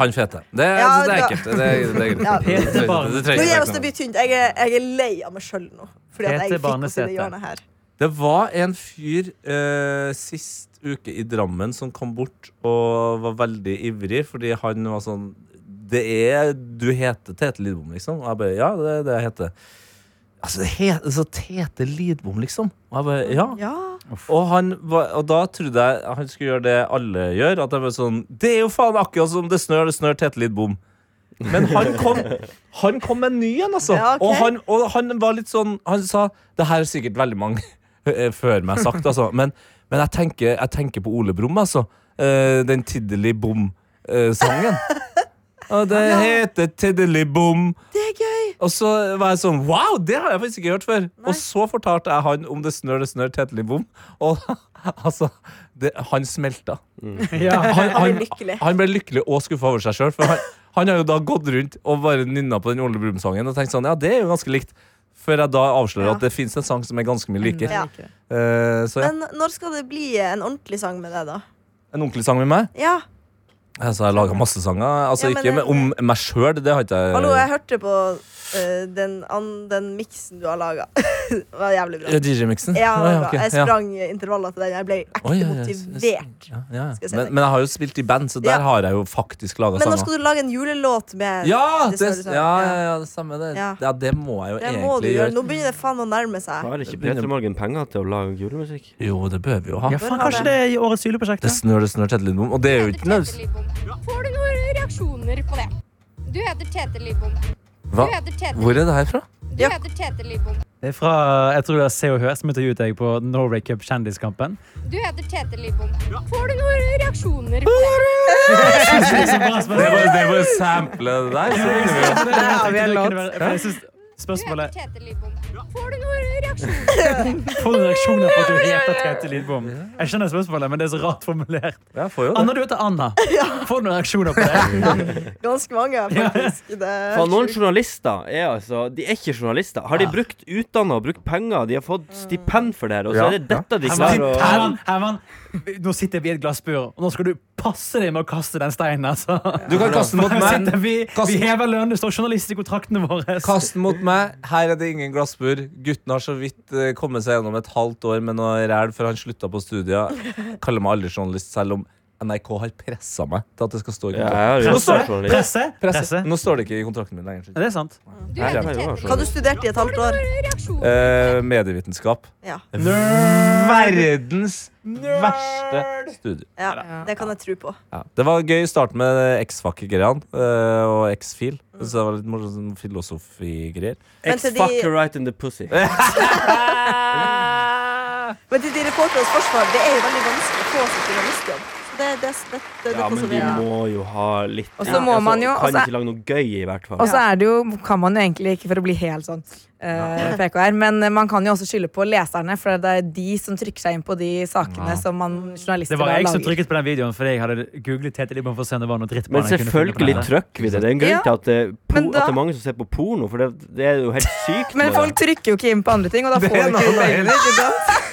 Speaker 3: Han fete. Det, er-
Speaker 4: Ja,
Speaker 3: det er
Speaker 4: da-
Speaker 3: enkelt. Det, er- det er
Speaker 4: Ja.
Speaker 3: greit. Det trenger- det trenger
Speaker 4: Nå gir
Speaker 3: ikke
Speaker 4: jeg
Speaker 3: være
Speaker 4: oss
Speaker 3: noe.
Speaker 4: det blir tynt. Jeg er, jeg er lei av meg sjøl nå. Fordi at jeg
Speaker 2: Tete
Speaker 4: fikk oss i
Speaker 2: Barnesete.
Speaker 4: det hjørnet her.
Speaker 3: Det var en fyr eh, sist uke i Drammen som kom bort og var veldig ivrig, fordi han var sånn Det er Du heter Tete Lidbom, liksom? Og jeg bare Ja, det er det jeg heter. Altså, det heter så Tete Lidbom, liksom. Og jeg bare Ja.
Speaker 4: Ja.
Speaker 3: Og, han var, og da trodde jeg han skulle gjøre det alle gjør. At jeg var sånn Det er jo faen akkurat som det snør, det snør tett litt bom. Men han kom Han kom med en ny en, altså.
Speaker 4: Ja, ok.
Speaker 3: og, han, og han var litt sånn Han sa Det her er sikkert veldig mange eh, før meg sagt, altså. Men, men jeg, tenker, jeg tenker på Ole Brumm, altså. Eh, den Tiddeli Bom-sangen. og det heter Tiddeli Bom.
Speaker 4: Det er gøy!
Speaker 3: Og så var jeg sånn Wow, det har jeg faktisk ikke hørt før! Og så fortalte jeg han om det snør, det snør, tetelig bom. Og altså det, Han smelta.
Speaker 2: Ja.
Speaker 3: Han,
Speaker 4: Han ble lykkelig.
Speaker 3: han ble lykkelig og skuffa over seg sjøl. For han, han har jo da gått rundt og bare nynna på den Ole Brumm-sangen og tenkt sånn Ja, det er jo ganske likt. Før jeg da avslører
Speaker 4: Ja. Mm,
Speaker 3: at det fins en sang som er ganske mye likere.
Speaker 4: Ja.
Speaker 3: Eh, så ja,
Speaker 4: Men når skal det bli en ordentlig sang med deg, da?
Speaker 3: en ordentlig sang med meg.
Speaker 4: Ja,
Speaker 3: Altså, jeg laga masse sanger. Altså
Speaker 4: Ja, men
Speaker 3: ikke
Speaker 4: det-
Speaker 3: med, om meg sjøl, det har ikke jeg
Speaker 4: Hallo, jeg hørte på eh, den, an- den miksen du har laga. det var jævlig bra.
Speaker 3: Ja, DJ-miksen?
Speaker 4: Ja, det
Speaker 3: Eh, Å,
Speaker 4: var
Speaker 3: ok,
Speaker 4: bra. Jeg
Speaker 3: ja.
Speaker 4: sprang intervaller til den. Jeg ble
Speaker 3: Oi,
Speaker 4: ekte
Speaker 3: ja, ja,
Speaker 4: motivert.
Speaker 3: Ja, ja, ja.
Speaker 4: Skal jeg si
Speaker 3: Men,
Speaker 4: deg.
Speaker 3: men jeg har jo spilt i band, så der
Speaker 4: Ja.
Speaker 3: har jeg jo faktisk laga
Speaker 4: Men når
Speaker 3: sanger.
Speaker 4: skal du lage en julelåt med
Speaker 3: Ja,
Speaker 4: det
Speaker 3: det,
Speaker 4: skal du si.
Speaker 3: ja, ja,
Speaker 4: Ja.
Speaker 3: ja, det samme. Det,
Speaker 4: Ja.
Speaker 3: ja, det må jeg jo
Speaker 4: Det må du
Speaker 3: egentlig
Speaker 4: gjøre.
Speaker 3: gjøre.
Speaker 4: Nå begynner det faen å nærme seg.
Speaker 5: Har ikke Peter Morgen penger til å lage julemusikk?
Speaker 3: Jo, det bør vi jo ha.
Speaker 2: ja, faen, kanskje det er i årets juleprosjekt?
Speaker 3: Det
Speaker 2: da?
Speaker 3: snør, det snør Tete Lidbom. Og det er jo ikke
Speaker 7: Tete
Speaker 3: nødvendigvis
Speaker 7: Lidbom. Får du noen reaksjoner på det? Du heter Tete Lidbom. Du
Speaker 3: Hva?
Speaker 7: heter Tete,
Speaker 3: Hvor er det her fra?
Speaker 7: du heter Tete Lidbom.
Speaker 2: Det er fra jeg tror det er Se og Hør som intervjuet deg på Norway Cup Kjendiskampen.
Speaker 7: Du heter Tete Lidbom. Får du noen reaksjoner på det?
Speaker 3: Det var, det var sample, det der. Så.
Speaker 2: Ja,
Speaker 6: vi er låt.
Speaker 7: Du heter
Speaker 2: Spørsmålet
Speaker 7: Tete Lidbom. Får du noen reaksjoner?
Speaker 2: Får du reaksjoner på at du heter Tete Lidbom? Jeg skjønner spørsmålet, men det er så rart formulert.
Speaker 3: Jeg får jo
Speaker 2: Anna,
Speaker 3: det.
Speaker 2: du heter Anna. Får du noen reaksjoner på det?
Speaker 4: Ganske mange, faktisk. Det er
Speaker 5: For noen
Speaker 4: sjukt.
Speaker 5: journalister er altså De er ikke journalister. Har de brukt utdanna og brukt penger? De har fått stipend for det her, og så
Speaker 3: Ja.
Speaker 5: er det dette de klarer å
Speaker 2: Herman, Herman, Herman, nå sitter vi i et glassbur, og nå skal du passe deg med å kaste den steinen. Altså.
Speaker 3: Du kan kaste den mot
Speaker 2: Her
Speaker 3: meg.
Speaker 2: sitter vi, vi
Speaker 3: Kast-
Speaker 2: hever lønnen, det står journalist i kontraktene våre.
Speaker 3: Kast den mot meg. Her er det ingen glassbur. Gutten har så vidt eh, kommet seg gjennom et halvt år med noe ræl før han slutta på studier. Kaller meg aldri journalist, selv om NRK har pressa meg til at det skal stå i
Speaker 5: Ja,
Speaker 3: kontrakten.
Speaker 5: jeg har jo
Speaker 2: Presse,
Speaker 5: vært journalist.
Speaker 2: presse, presse.
Speaker 3: Presse. Nå står det ikke i kontrakten min lenger.
Speaker 2: Ja, det er sant.
Speaker 7: Du
Speaker 5: Nei,
Speaker 7: heter
Speaker 5: jeg har
Speaker 7: Tete Lidbom.
Speaker 4: Hva du studerte i et halvt år?
Speaker 7: Reaksjoner.
Speaker 3: Eh, medievitenskap.
Speaker 4: Ja.
Speaker 3: Verdens verste studie.
Speaker 4: ja, det kan jeg tro på.
Speaker 3: Ja. Det var gøy å starte med X-fac-greiene eh, og X-fil.
Speaker 2: Mm.
Speaker 3: Så det var litt morsomt sånn filosofi-greier.
Speaker 4: Men til de,
Speaker 5: Ex-fucker right in the pussy.
Speaker 4: men til de reporteres forsvar, det er jo veldig vanskelig å få seg journalistjobb. Så Det, det, det, det, det,
Speaker 5: Ja, men
Speaker 4: det,
Speaker 5: de
Speaker 4: det, det,
Speaker 5: må jo ha litt
Speaker 6: Og så må
Speaker 5: Altså,
Speaker 6: man jo-
Speaker 5: Kan
Speaker 6: altså-
Speaker 5: ikke lage noe gøy, i hvert fall.
Speaker 6: Og så er det jo, kan man jo egentlig ikke for å bli helt sånn eh, PK her, men man kan jo også skylde på leserne, for det er de som trykker seg inn på de sakene som man journalister
Speaker 2: Det var
Speaker 6: da
Speaker 2: jeg som
Speaker 6: lager.
Speaker 2: trykket på den videoen fordi jeg hadde googlet Tete Lidbom for å se om det var noe drittbarn.
Speaker 5: Men
Speaker 2: jeg kunne finne på
Speaker 5: selvfølgelig
Speaker 2: nettet.
Speaker 5: trykker vi det. Det er en grunn
Speaker 6: Ja,
Speaker 5: til at, eh,
Speaker 6: men
Speaker 5: po
Speaker 6: da-
Speaker 5: at det er mange som ser på porno, for det, det er jo helt sykt.
Speaker 6: Men
Speaker 5: med
Speaker 6: folk trykker jo ikke inn på andre ting, og da får vi ikke penger. ikke sant?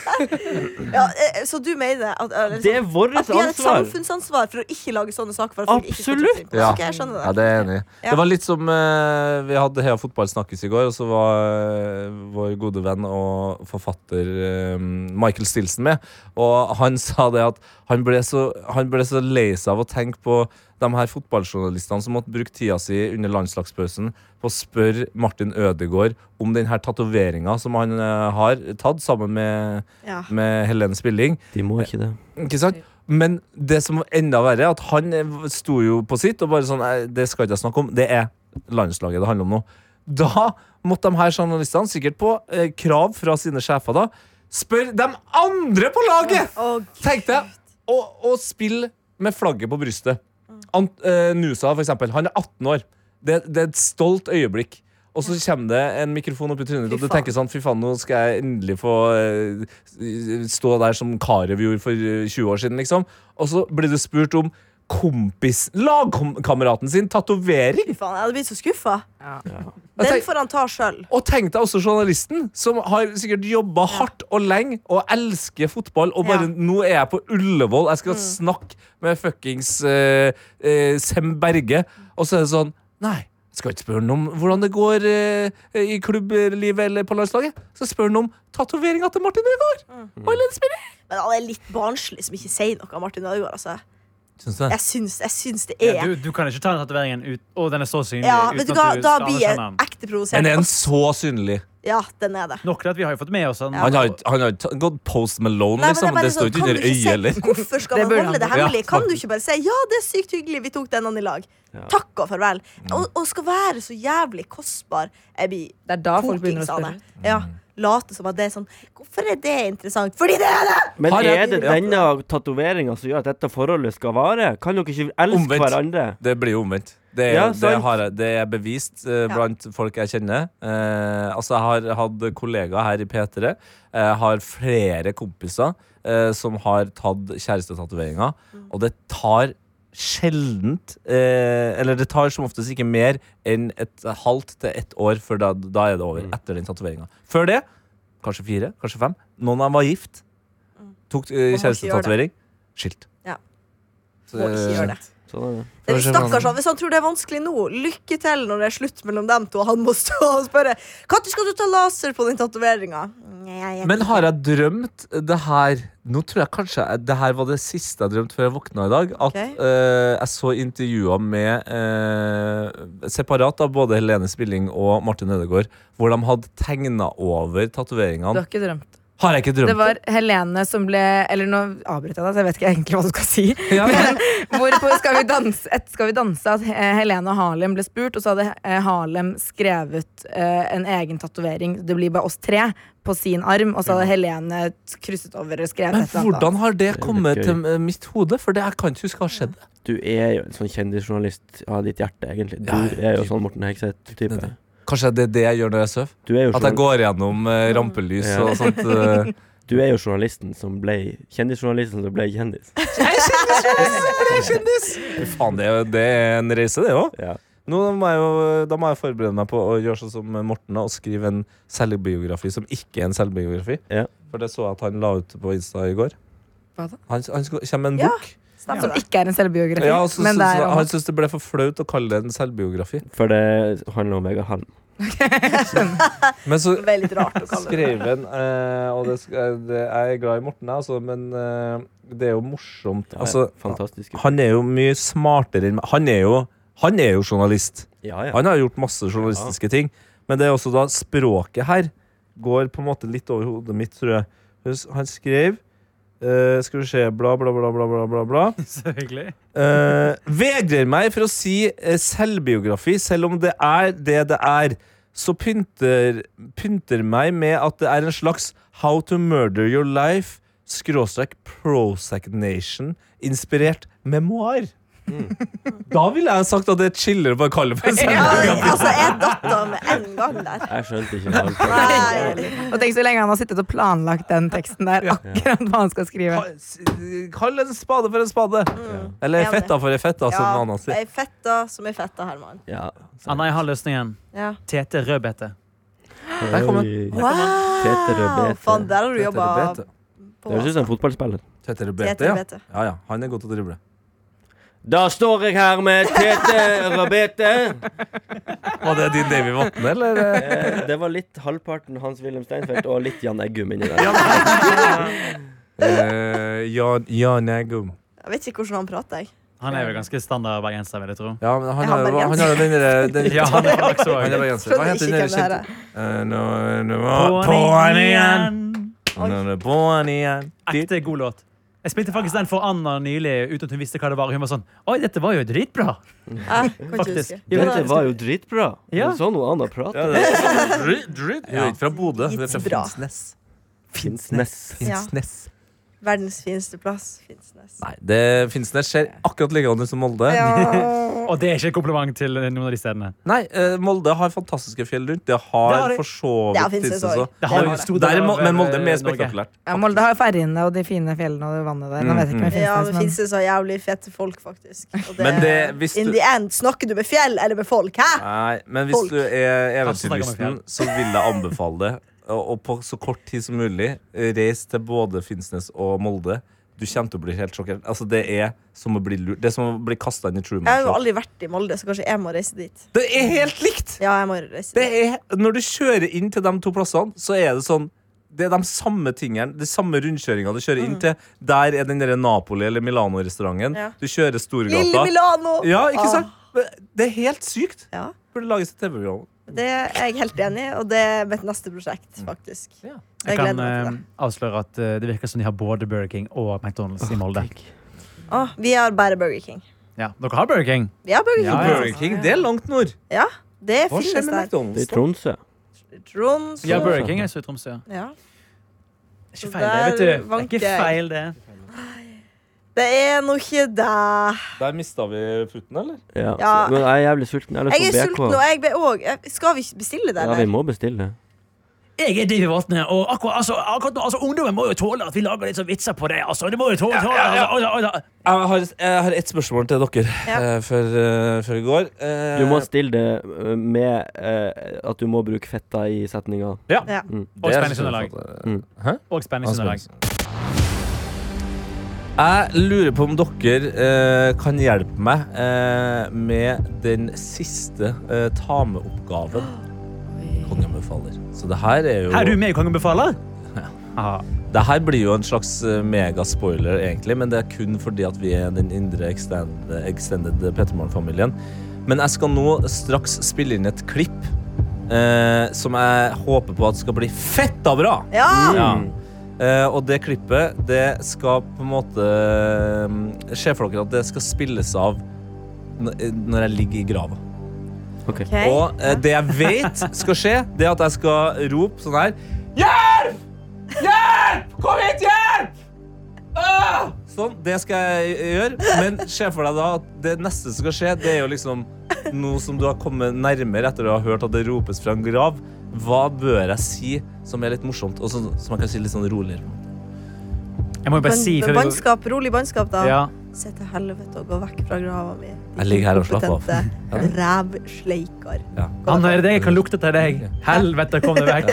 Speaker 4: Ja, eh, så du mener at, eller,
Speaker 5: Det er vårt
Speaker 4: at vi har et
Speaker 5: ansvar.
Speaker 4: samfunnsansvar for å ikke lage sånne saker? For at folk ikke skal ta
Speaker 5: Absolutt.
Speaker 4: trygt på.
Speaker 3: Ja.
Speaker 4: Ok, jeg skjønner
Speaker 3: Ja,
Speaker 4: det.
Speaker 3: det er jeg enig i.
Speaker 4: Ja.
Speaker 3: Det var litt som eh, Vi hadde Heia Fotball snakkes i går, og så var eh, vår gode venn og forfatter eh, Michael Stilson med. Og han sa det at han ble så, han ble så lei seg av å tenke på de her fotballjournalistene som måtte bruke tida si under landslagspausen på å spørre Martin Ødegaard om den her tatoveringa som han eh, har tatt sammen med,
Speaker 4: Ja.
Speaker 3: med Helen Spilling.
Speaker 5: De må ikke det.
Speaker 3: Ikke sant? Men det som var enda verre, er at han sto jo på sitt og bare sånn "Nei, Det skal ikke jeg snakke om. Det er landslaget det handler om nå. Da måtte de her journalistene, sikkert på eh, krav fra sine sjefer, da spørre de andre på laget!
Speaker 4: Å, Gud.
Speaker 3: Tenkte jeg. Og, og spille med flagget på brystet. Ant, eh, Nusa, for eksempel. Han er 18 år. Det, det er et stolt øyeblikk. Og så kommer det en mikrofon opp i trynet, ditt, og du
Speaker 4: Fy faen.
Speaker 3: tenker sånn Fy faen, nå skal jeg endelig få eh, stå der som Karev gjorde for eh, 20 år siden, liksom. Og så blir du spurt om kompis lagkameraten sin tatovering!
Speaker 4: Fy faen, jeg hadde blitt så skuffa.
Speaker 3: Jeg
Speaker 4: Den
Speaker 3: tenk-
Speaker 4: får han ta sjøl.
Speaker 3: Og tenk deg også journalisten, som har sikkert jobba hardt og lenge og elsker fotball. Og bare
Speaker 4: Ja. Mm.
Speaker 3: 'Nå er jeg på Ullevål, jeg skal snakke med fuckings eh, eh, Sem Berge'. Og så er det sånn Nei, jeg skal ikke spørre ham om hvordan det går eh, i klubblivet eller på landslaget. Jeg skal spørre ham om tatoveringa til Martin Ødegaard. Og Helen Spiller.
Speaker 4: Men han er litt barnslig som ikke sier noe om Martin Ødegaard. Altså.
Speaker 3: Syns du det?
Speaker 4: Jeg, syns, jeg syns det
Speaker 2: Ja,
Speaker 4: er
Speaker 2: du, du kan ikke ta den tatoveringen ut Å, den er så synlig.
Speaker 4: ja,
Speaker 2: uten
Speaker 4: vet du
Speaker 2: at
Speaker 4: hva, Da
Speaker 2: skal
Speaker 4: blir jeg
Speaker 2: anerkjenne den.
Speaker 4: ekte provosert.
Speaker 3: Men er han så synlig?
Speaker 4: Ja, den er det.
Speaker 2: Nok til at vi har jo fått med oss den.
Speaker 3: Han har ikke- han har ikke gått Post Malone,
Speaker 4: Nei, men
Speaker 3: liksom.
Speaker 4: bare
Speaker 3: Det står
Speaker 4: sånn,
Speaker 3: ikke
Speaker 4: kan
Speaker 3: under
Speaker 4: du ikke
Speaker 3: øyet,
Speaker 4: si-
Speaker 3: eller?
Speaker 4: Hvorfor skal
Speaker 6: Det
Speaker 4: man
Speaker 6: burde
Speaker 4: holde
Speaker 6: han-
Speaker 4: det hemmelig?
Speaker 3: Ja,
Speaker 4: Kan du ikke bare si 'ja, det er sykt hyggelig, vi tok denne i lag'? Takk og farvel.
Speaker 3: Mm.
Speaker 4: Og, og skal være så jævlig kostbar. Jeg blir
Speaker 6: Det er da folk begynner å
Speaker 4: kokings av
Speaker 6: spørre.
Speaker 4: det. Ja, late som at det er sånn Hvorfor er det interessant? Fordi det er det!
Speaker 5: Men
Speaker 3: Har jeg-
Speaker 5: er det denne tatoveringa som gjør at dette forholdet skal vare? Kan dere ikke elske
Speaker 3: Omvendt.
Speaker 5: hverandre?
Speaker 3: Det blir jo omvendt. Det er,
Speaker 5: Ja,
Speaker 3: det
Speaker 5: sant.
Speaker 3: har jeg, det er bevist eh, blant folk jeg kjenner. Eh, altså Jeg har hatt kollegaer her i P3. Jeg har flere kompiser eh, som har tatt kjærestetatoveringer.
Speaker 4: Mm.
Speaker 3: Og det tar sjeldent eh, Eller det tar som oftest ikke mer enn et halvt til ett år før da, da er det over.
Speaker 4: Mm.
Speaker 3: Etter den tatoveringa. Før det, kanskje fire, kanskje fem. Noen av dem var gift. Tok eh,
Speaker 4: Mm. Man må ikke gjøre
Speaker 3: kjærestetatovering. Skilt.
Speaker 4: Ja.
Speaker 3: Så,
Speaker 4: Må ikke gjøre det.
Speaker 5: Sånn er det.
Speaker 4: Det er stakkars han. Hvis han tror det er vanskelig nå, lykke til når det er slutt mellom dem to. og Han må stå og spørre Når skal du ta laser på den tatoveringa?
Speaker 3: Men har jeg drømt det her Nå tror jeg kanskje jeg- det her var det siste jeg drømte før jeg våkna i dag. At
Speaker 4: Ok.
Speaker 3: eh, jeg så intervjuer med eh, Separat av både Helene Spilling og Martin Ødegaard. Hvor de hadde tegna over
Speaker 6: Du
Speaker 3: tatoveringene.
Speaker 6: har ikke drømt.
Speaker 3: Har jeg ikke
Speaker 6: Det
Speaker 3: drømt?
Speaker 6: var Helene som ble Eller nå avbryter jeg deg, så jeg vet ikke egentlig hva du skal si.
Speaker 3: Ja, men-
Speaker 6: Hvorpå skal vi danse, etter skal vi danse at eh, Helene og Harlem ble spurt, og så hadde eh, Harlem skrevet eh, en egen tatovering, det blir bare oss tre, på sin arm, og så hadde Helene krysset over og skrevet
Speaker 3: men
Speaker 6: et eller annet.
Speaker 3: hvordan har det
Speaker 5: litt
Speaker 3: kommet
Speaker 5: gøy.
Speaker 3: til eh, mitt hode? For det jeg kan ikke huske har skjedd.
Speaker 5: Du er jo en sånn kjendisjournalist av ditt hjerte, egentlig. Du
Speaker 3: Ja, ja.
Speaker 5: er jo sånn Morten Hegseth-type.
Speaker 3: Kanskje det er det jeg gjør når jeg sover?
Speaker 5: Du, er jo
Speaker 3: At jeg
Speaker 5: journal-
Speaker 3: går gjennom eh, rampelys
Speaker 5: Ja.
Speaker 3: og sånt. eh.
Speaker 5: du er jo journalisten som ble kjendisjournalisten som ble kjendis.
Speaker 3: Fy Faen, det, er jo- det er en reise, det òg.
Speaker 5: Ja.
Speaker 3: Nå må jeg jo, da må jeg forberede meg på å gjøre sånn som Morten og skrive en selvbiografi som ikke er en selvbiografi.
Speaker 5: Ja.
Speaker 3: For det så jeg at han la ut på Insta i går.
Speaker 6: Hva da?
Speaker 3: Han, han skulle- kommer med en
Speaker 4: Ja,
Speaker 3: bok.
Speaker 6: Som ikke er en selvbiografi,
Speaker 3: Ja, og så
Speaker 6: men
Speaker 3: synes
Speaker 6: det
Speaker 3: han-
Speaker 6: er
Speaker 3: han syntes det ble for flaut å kalle det en selvbiografi.
Speaker 5: For det handler om Vegard Harm.
Speaker 3: Men så
Speaker 4: Det er litt rart å kalle det.
Speaker 3: skrev han eh, Og det, sk- eh, det, jeg er glad i Morten, jeg, altså, men eh, det er jo morsomt. Altså,
Speaker 5: Fantastisk.
Speaker 3: han er jo mye smartere enn meg. Han er jo, han er jo journalist.
Speaker 5: Ja, ja.
Speaker 3: Han har gjort masse journalistiske ting. Men det er også da språket her går på en måte litt over hodet mitt, tror jeg. Hus- Han skrev eh, Skal vi se Bla, bla, bla, bla, bla, bla. bla.
Speaker 2: Så hyggelig.
Speaker 3: Eh, vegrer meg for å si eh, selvbiografi, selv om det er det det er. Så pynter, pynter meg med at det er en slags How to murder your life skråstrek Prosagnation inspirert memoar. Da ville jeg sagt at det er chiller å bare kalle det for en
Speaker 4: Ja,
Speaker 3: selvbiografi.
Speaker 4: altså, jeg datt av med en gang der.
Speaker 5: Jeg skjønte ikke hva han
Speaker 4: Nei.
Speaker 6: Og tenk så lenge han har sittet og planlagt den teksten der, akkurat hva han skal skrive.
Speaker 3: Ka- s- Kall en spade for en spade. Eller
Speaker 4: Ja, det.
Speaker 3: fetta for en fetta, som
Speaker 4: Ja,
Speaker 3: Anna sier.
Speaker 4: ei fetta som ei fetta, Herman.
Speaker 5: Ja.
Speaker 2: Anna, jeg har løsningen.
Speaker 4: Ja.
Speaker 2: Tete Rødbete.
Speaker 3: Der kom den.
Speaker 5: Oi.
Speaker 4: Wow!
Speaker 5: Tete Rødbete.
Speaker 4: Faen, der har du
Speaker 3: Tete
Speaker 4: jobba
Speaker 3: Rødbete.
Speaker 4: på
Speaker 5: Det høres ut som en fotballspiller.
Speaker 3: Tete
Speaker 4: Tete
Speaker 3: Rebete, ja.
Speaker 4: Rebete.
Speaker 3: ja, ja. Han er god til å drible.
Speaker 5: Da står jeg her med Tete Rabete.
Speaker 3: Var det din Davy Vatne, eller?
Speaker 5: Eh, Det var litt halvparten Hans-Wilhelm Steinfeld og litt Jan Eggum inni der.
Speaker 3: Eh, Jan, Jan Eggum.
Speaker 4: Jeg vet ikke hvordan han prater, jeg.
Speaker 2: Han er vel ganske standard bergenser, vil jeg tro.
Speaker 3: Ja, men han har
Speaker 4: Er han
Speaker 3: jo han
Speaker 4: bergenser?
Speaker 3: har jo den derre den-
Speaker 2: Ja, han er også
Speaker 3: Han er
Speaker 2: På
Speaker 3: bergenser. Hva
Speaker 4: Skjønner
Speaker 3: heter den derre
Speaker 4: ikke hvem det her
Speaker 3: kjente
Speaker 4: er.
Speaker 3: Eh, nå- nå var- På'n igjen! Nå er det på'n igjen.
Speaker 2: Ekte god låt. Jeg spilte faktisk den for Anna nylig uten at hun visste hva det var. Hun var sånn Oi, dette var jo dritbra!
Speaker 4: Jeg kan ikke
Speaker 2: Faktisk.
Speaker 4: huske.
Speaker 5: Ja, men det var jo dritbra.
Speaker 2: Ja.
Speaker 5: Du så noe annet prat.
Speaker 3: Ja, det er- Drit, drit. Hun er ikke fra Bodø, hun er fra
Speaker 4: Bra.
Speaker 3: Finnsnes.
Speaker 5: Finnsnes.
Speaker 4: Ja.
Speaker 3: Finnsnes.
Speaker 4: Verdens fineste plass. Finnsnes.
Speaker 3: Nei, det Finnsnes ser akkurat likedan ut som Molde.
Speaker 2: Og det er ikke et kompliment til noen av de stedene.
Speaker 3: Nei, eh, Molde har fantastiske fjell rundt. Det har,
Speaker 2: Det har de.
Speaker 3: for så
Speaker 4: Det har
Speaker 3: vidt
Speaker 4: Finnsnes
Speaker 3: Finnsnes
Speaker 4: også.
Speaker 3: også.
Speaker 2: Det har jo
Speaker 4: Ja,
Speaker 2: stor
Speaker 3: Der
Speaker 2: del
Speaker 3: er Mo-
Speaker 2: av,
Speaker 3: Men Molde er mer
Speaker 2: eh, Norge.
Speaker 3: spektakulært.
Speaker 6: Ja, Molde har jo ferjene og de fine fjellene og det vannet der.
Speaker 3: Mm,
Speaker 6: Nå vet jeg ikke om jeg finnes
Speaker 4: Ja,
Speaker 6: det,
Speaker 4: men
Speaker 6: men-
Speaker 4: finnes det så jævlig fete folk, faktisk. Og det,
Speaker 3: Men det- hvis
Speaker 4: in
Speaker 3: du-
Speaker 4: the end, snakker du med fjell eller med folk? Hæ?
Speaker 3: Nei, men hvis
Speaker 4: Folk.
Speaker 3: du er
Speaker 2: Kanskje snakker om
Speaker 3: eventyrlysten, så vil jeg anbefale det. Og og på så kort tid som mulig, eh, reis til både Finnsnes og Molde. Du kommer til å bli helt sjokkert. Altså, det er som å bli lurt. Det er som å bli kasta inn i Truman
Speaker 4: Jeg har
Speaker 3: Show.
Speaker 4: jo aldri vært i Molde, så kanskje jeg må reise dit.
Speaker 3: Det er helt likt!
Speaker 4: Ja, jeg må reise
Speaker 3: Det
Speaker 4: dit.
Speaker 3: er, når du kjører inn til de to plassene, så er det sånn det er de samme tingene, de samme rundkjøringene du kjører inn til. Der er den der Napoli- eller Milano-restauranten.
Speaker 4: Mm. Ja.
Speaker 3: Du kjører
Speaker 4: Lille
Speaker 3: Storgata.
Speaker 4: Milano!
Speaker 3: Ja, ikke
Speaker 4: Ah.
Speaker 3: sant? Det er helt sykt.
Speaker 4: Ja,
Speaker 3: Burde lages et TV-program.
Speaker 4: det er jeg helt enig i, og det er mitt neste prosjekt, faktisk.
Speaker 3: Ja.
Speaker 4: Jeg ehm,
Speaker 2: Jeg
Speaker 4: gleder
Speaker 2: kan
Speaker 4: meg til det.
Speaker 2: eh, avsløre at eh, det virker som de har både Burger King og McDonald's i Molde.
Speaker 4: Å, vi har bare Burger King.
Speaker 2: Ja, Dere har Burger King?
Speaker 4: Vi har Burger King.
Speaker 2: Ja, ja.
Speaker 3: Burger King, det er langt nord.
Speaker 4: Ja, det
Speaker 3: Hva skjer
Speaker 4: finnes
Speaker 3: med
Speaker 4: der.
Speaker 5: Det er
Speaker 3: McDonald's?
Speaker 5: Tromsø.
Speaker 4: Trond,
Speaker 2: Ja,
Speaker 4: så
Speaker 2: Burger King er så i Tromsø. ja.
Speaker 4: ja.
Speaker 2: Det er Ikke
Speaker 4: Så
Speaker 2: feil, det. vet du.
Speaker 4: der
Speaker 2: Det er
Speaker 4: vanker
Speaker 2: ikke
Speaker 4: jeg.
Speaker 2: feil, det.
Speaker 4: Det er nå ikke deg.
Speaker 3: Der mista vi putten, eller?
Speaker 5: Ja.
Speaker 4: Ja.
Speaker 5: Men jeg er jævlig sulten. Jeg har lyst
Speaker 4: Jeg
Speaker 5: på
Speaker 4: er
Speaker 5: BK.
Speaker 4: sulten, og jeg ble òg Skal vi ikke bestille det,
Speaker 5: Ja, vi
Speaker 4: eller?
Speaker 5: må bestille.
Speaker 2: Jeg er Davy Vatne, og akkurat, altså, akkurat nå, altså, ungdommen må jo tåle at vi lager litt sånn vitser på det. Altså, det må jo tåle, tåle Altså, altså, altså.
Speaker 3: Jeg har, jeg har ett spørsmål til dere
Speaker 4: Ja.
Speaker 3: eh, før, eh, før vi går. Eh,
Speaker 5: Du må stille det eh, med eh, at du må bruke fetta i setninga.
Speaker 4: Ja.
Speaker 2: Og
Speaker 3: det er-
Speaker 2: spenningsunderlag.
Speaker 5: Mm.
Speaker 3: Hæ?
Speaker 2: Og spenningsunderlag.
Speaker 3: Jeg lurer på om dere eh, kan hjelpe meg eh, med den siste eh, ta med-oppgaven. Kongen befaler. Så det her er jo
Speaker 2: Her er du med i Kongen befaler? Ja.
Speaker 3: Det her blir jo en slags eh, megaspoiler, egentlig, men det er kun fordi at vi er den indre extended, extended Pettermoren-familien. Men jeg skal nå straks spille inn et klipp eh, som jeg håper på at skal bli fetta bra.
Speaker 4: Ja!
Speaker 3: Ja. Eh, og det klippet, det skal på en måte eh, Se for dere at det skal spilles av n- eh, når jeg ligger i grava.
Speaker 5: Ok.
Speaker 4: Ok.
Speaker 3: Og eh, det jeg vet skal skje, det er at jeg skal rope sånn her Hjelp! Hjelp! Kom hit, hjelp! Ah! Sånn, det skal jeg gjøre. Men se for deg da at det neste som skal skje, det er jo liksom Nå som du har kommet nærmere etter å ha hørt at det ropes fra en grav, hva bør jeg si som er litt morsomt, og som, som jeg kan si litt sånn roligere?
Speaker 2: Jeg må jo bare si
Speaker 4: Men-
Speaker 2: før vi
Speaker 4: men
Speaker 2: går
Speaker 4: Bannskap, rolig bannskap, da.
Speaker 2: ja.
Speaker 4: Se til helvete og gå vekk fra grava mi.
Speaker 3: Jeg ligger her og slapper av.
Speaker 4: Kompetente Rævsleiker.
Speaker 3: Ja.
Speaker 2: Han er det jeg kan lukte til deg. Helvete, kom deg vekk.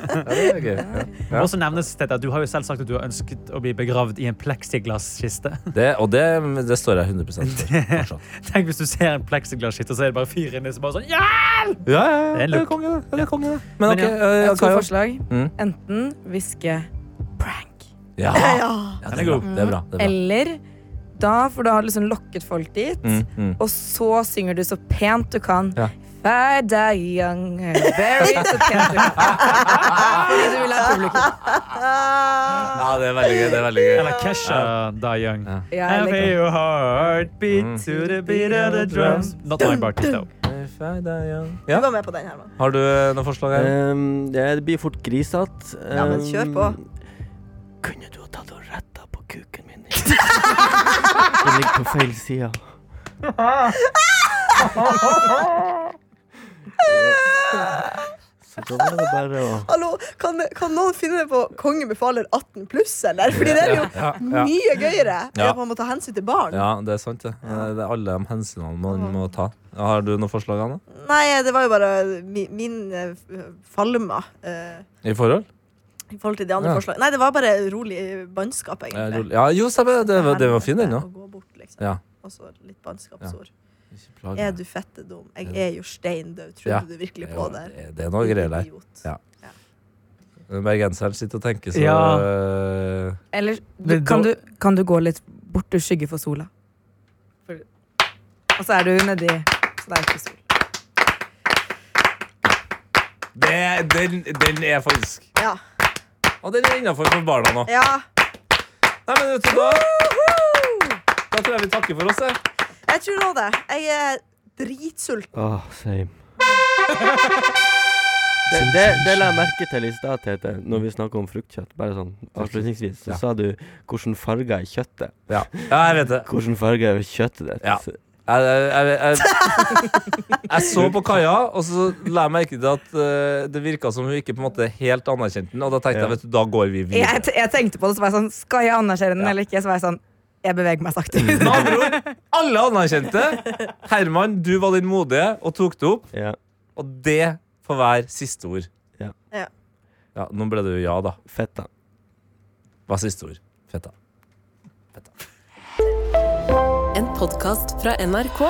Speaker 2: Det må også nevnes Tete, at du har jo selv sagt at du har ønsket å bli begravd i en pleksiglasskiste.
Speaker 3: Det, og det, det står jeg 100 for. fortsatt.
Speaker 2: Tenk hvis du ser en pleksiglasskiste, så er det bare fyr inni som bare sånn ja!
Speaker 3: Ja, ja, ja.
Speaker 2: Det er en look.
Speaker 3: konge, det. det. er konge, det. Men,
Speaker 2: Men
Speaker 3: ok,
Speaker 2: ja.
Speaker 3: eh,
Speaker 6: Jeg har to
Speaker 3: Kaja.
Speaker 6: forslag.
Speaker 3: Mm.
Speaker 6: Enten hviske prank,
Speaker 3: Ja.
Speaker 4: Ja.
Speaker 3: Ja, det er bra. Det er bra. Det er bra.
Speaker 6: eller da, for du har liksom lokket folk dit,
Speaker 3: Mm, mm.
Speaker 6: og så synger du så pent du kan.
Speaker 3: Ja.
Speaker 6: If I die young and buried, så pent du kan. Fordi du vil ha publikum.
Speaker 3: Ja, det er veldig gøy. Det er veldig gøy.
Speaker 2: Eller Kesha Da Young.
Speaker 6: Ja,
Speaker 2: Have
Speaker 6: eller-
Speaker 2: your heartbeat to the beat of the drums. Not my part, though.
Speaker 4: Du
Speaker 3: Ja.
Speaker 4: var med på den, Herman.
Speaker 3: Har du eh, noen forslag? her?
Speaker 5: Ehm, det blir fort grisete. Ehm,
Speaker 4: Ja, men kjør på.
Speaker 5: Kunne du ha tatt og retta på kuken min? Den ligger på feil side. Så da var det bare å
Speaker 4: Hallo, kan, kan noen finne på Kongen befaler 18 pluss, eller? Fordi det er jo mye gøyere.
Speaker 3: Ja.
Speaker 4: Ja. Man må ta hensyn til barn.
Speaker 3: Ja, det er sant. Det Det er alle de hensynene man må ta. Har du noen forslag, Anne?
Speaker 4: Nei, det var jo bare mi, min eh, f- falma. Eh,
Speaker 3: I forhold?
Speaker 4: I forhold til de andre
Speaker 3: Ja.
Speaker 4: forslagene. Nei, det var bare rolig bannskap,
Speaker 3: Ja,
Speaker 4: egentlig.
Speaker 3: rolig. ja, jo, stemmer. Det, var- det var fin, den, ja.
Speaker 4: Å gå bort, liksom.
Speaker 3: Ja.
Speaker 4: Og så litt bannskapsord.
Speaker 3: Ikke plag
Speaker 4: Er
Speaker 3: meg.
Speaker 4: du fette dum? Jeg
Speaker 3: Ja.
Speaker 4: er jo stein død. Trodde
Speaker 3: Ja.
Speaker 4: du virkelig
Speaker 3: Ja,
Speaker 4: på det? her?
Speaker 3: det- Det er noe
Speaker 4: Din
Speaker 3: greier der.
Speaker 4: idiot.
Speaker 3: Ja. Bergenseren sitter og tenker så
Speaker 2: Ja.
Speaker 3: øh,
Speaker 6: Eller du,
Speaker 2: Det-
Speaker 6: kan, du, kan du gå litt bort du skygge for sola? For- Og så er du nedi Så det er ikke sol.
Speaker 3: det, den, den er faktisk
Speaker 4: Ja.
Speaker 3: Og den er innafor for barna nå.
Speaker 4: ja.
Speaker 3: Nei, men vet du hva? Da tror jeg vi takker for oss, jeg.
Speaker 4: Jeg tror nå det. Jeg er dritsulten.
Speaker 5: Åh, same. Det, det, det la jeg merke til i stad, Tete, når vi snakka om fruktkjøtt. Bare sånn avslutningsvis. Så
Speaker 3: Ja.
Speaker 5: sa du hvilken farge er kjøttet?
Speaker 3: Ja, ja jeg vet det.
Speaker 5: Hvilken farge er kjøttet ditt?
Speaker 3: Ja. Jeg, jeg, jeg, jeg, jeg så på kaia, og så la jeg merke til at eh, det virka som hun ikke på en måte helt anerkjente den. Og da tenkte jeg vet du, da går vi videre.
Speaker 6: Jeg, jeg tenkte på det, så var jeg sånn Skal jeg anerkjenne den
Speaker 3: Ja.
Speaker 6: eller ikke? Så var jeg sånn Jeg beveger meg sakte.
Speaker 3: Med andre ord, alle anerkjente. Herman, du var den modige og tok det opp.
Speaker 5: Ja.
Speaker 3: Og det får være siste ord.
Speaker 5: Ja.
Speaker 4: Ja.
Speaker 3: Ja, nå ble det jo ja, da.
Speaker 5: Fetta.
Speaker 3: Hva er siste ord? Fetta.
Speaker 8: En podkast fra NRK.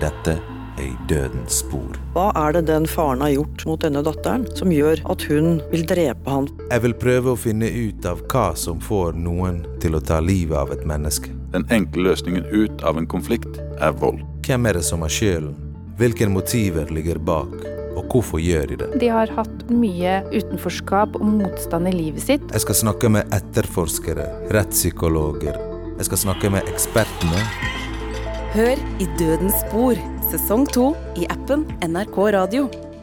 Speaker 9: Dette er i dødens spor.
Speaker 10: Hva er det den faren har gjort mot denne datteren som gjør at hun vil drepe han?
Speaker 11: Jeg vil prøve å finne ut av hva som får noen til å ta livet av et menneske.
Speaker 9: Den enkle løsningen ut av en konflikt er vold.
Speaker 11: Hvem er det som har skylden? Hvilke motiver ligger bak? Og hvorfor gjør de det?
Speaker 7: De har hatt mye utenforskap og motstand i livet sitt.
Speaker 11: Jeg skal snakke med etterforskere, rettspsykologer. Jeg skal snakke med ekspertene.
Speaker 8: Hør I dødens spor, sesong to i appen NRK Radio.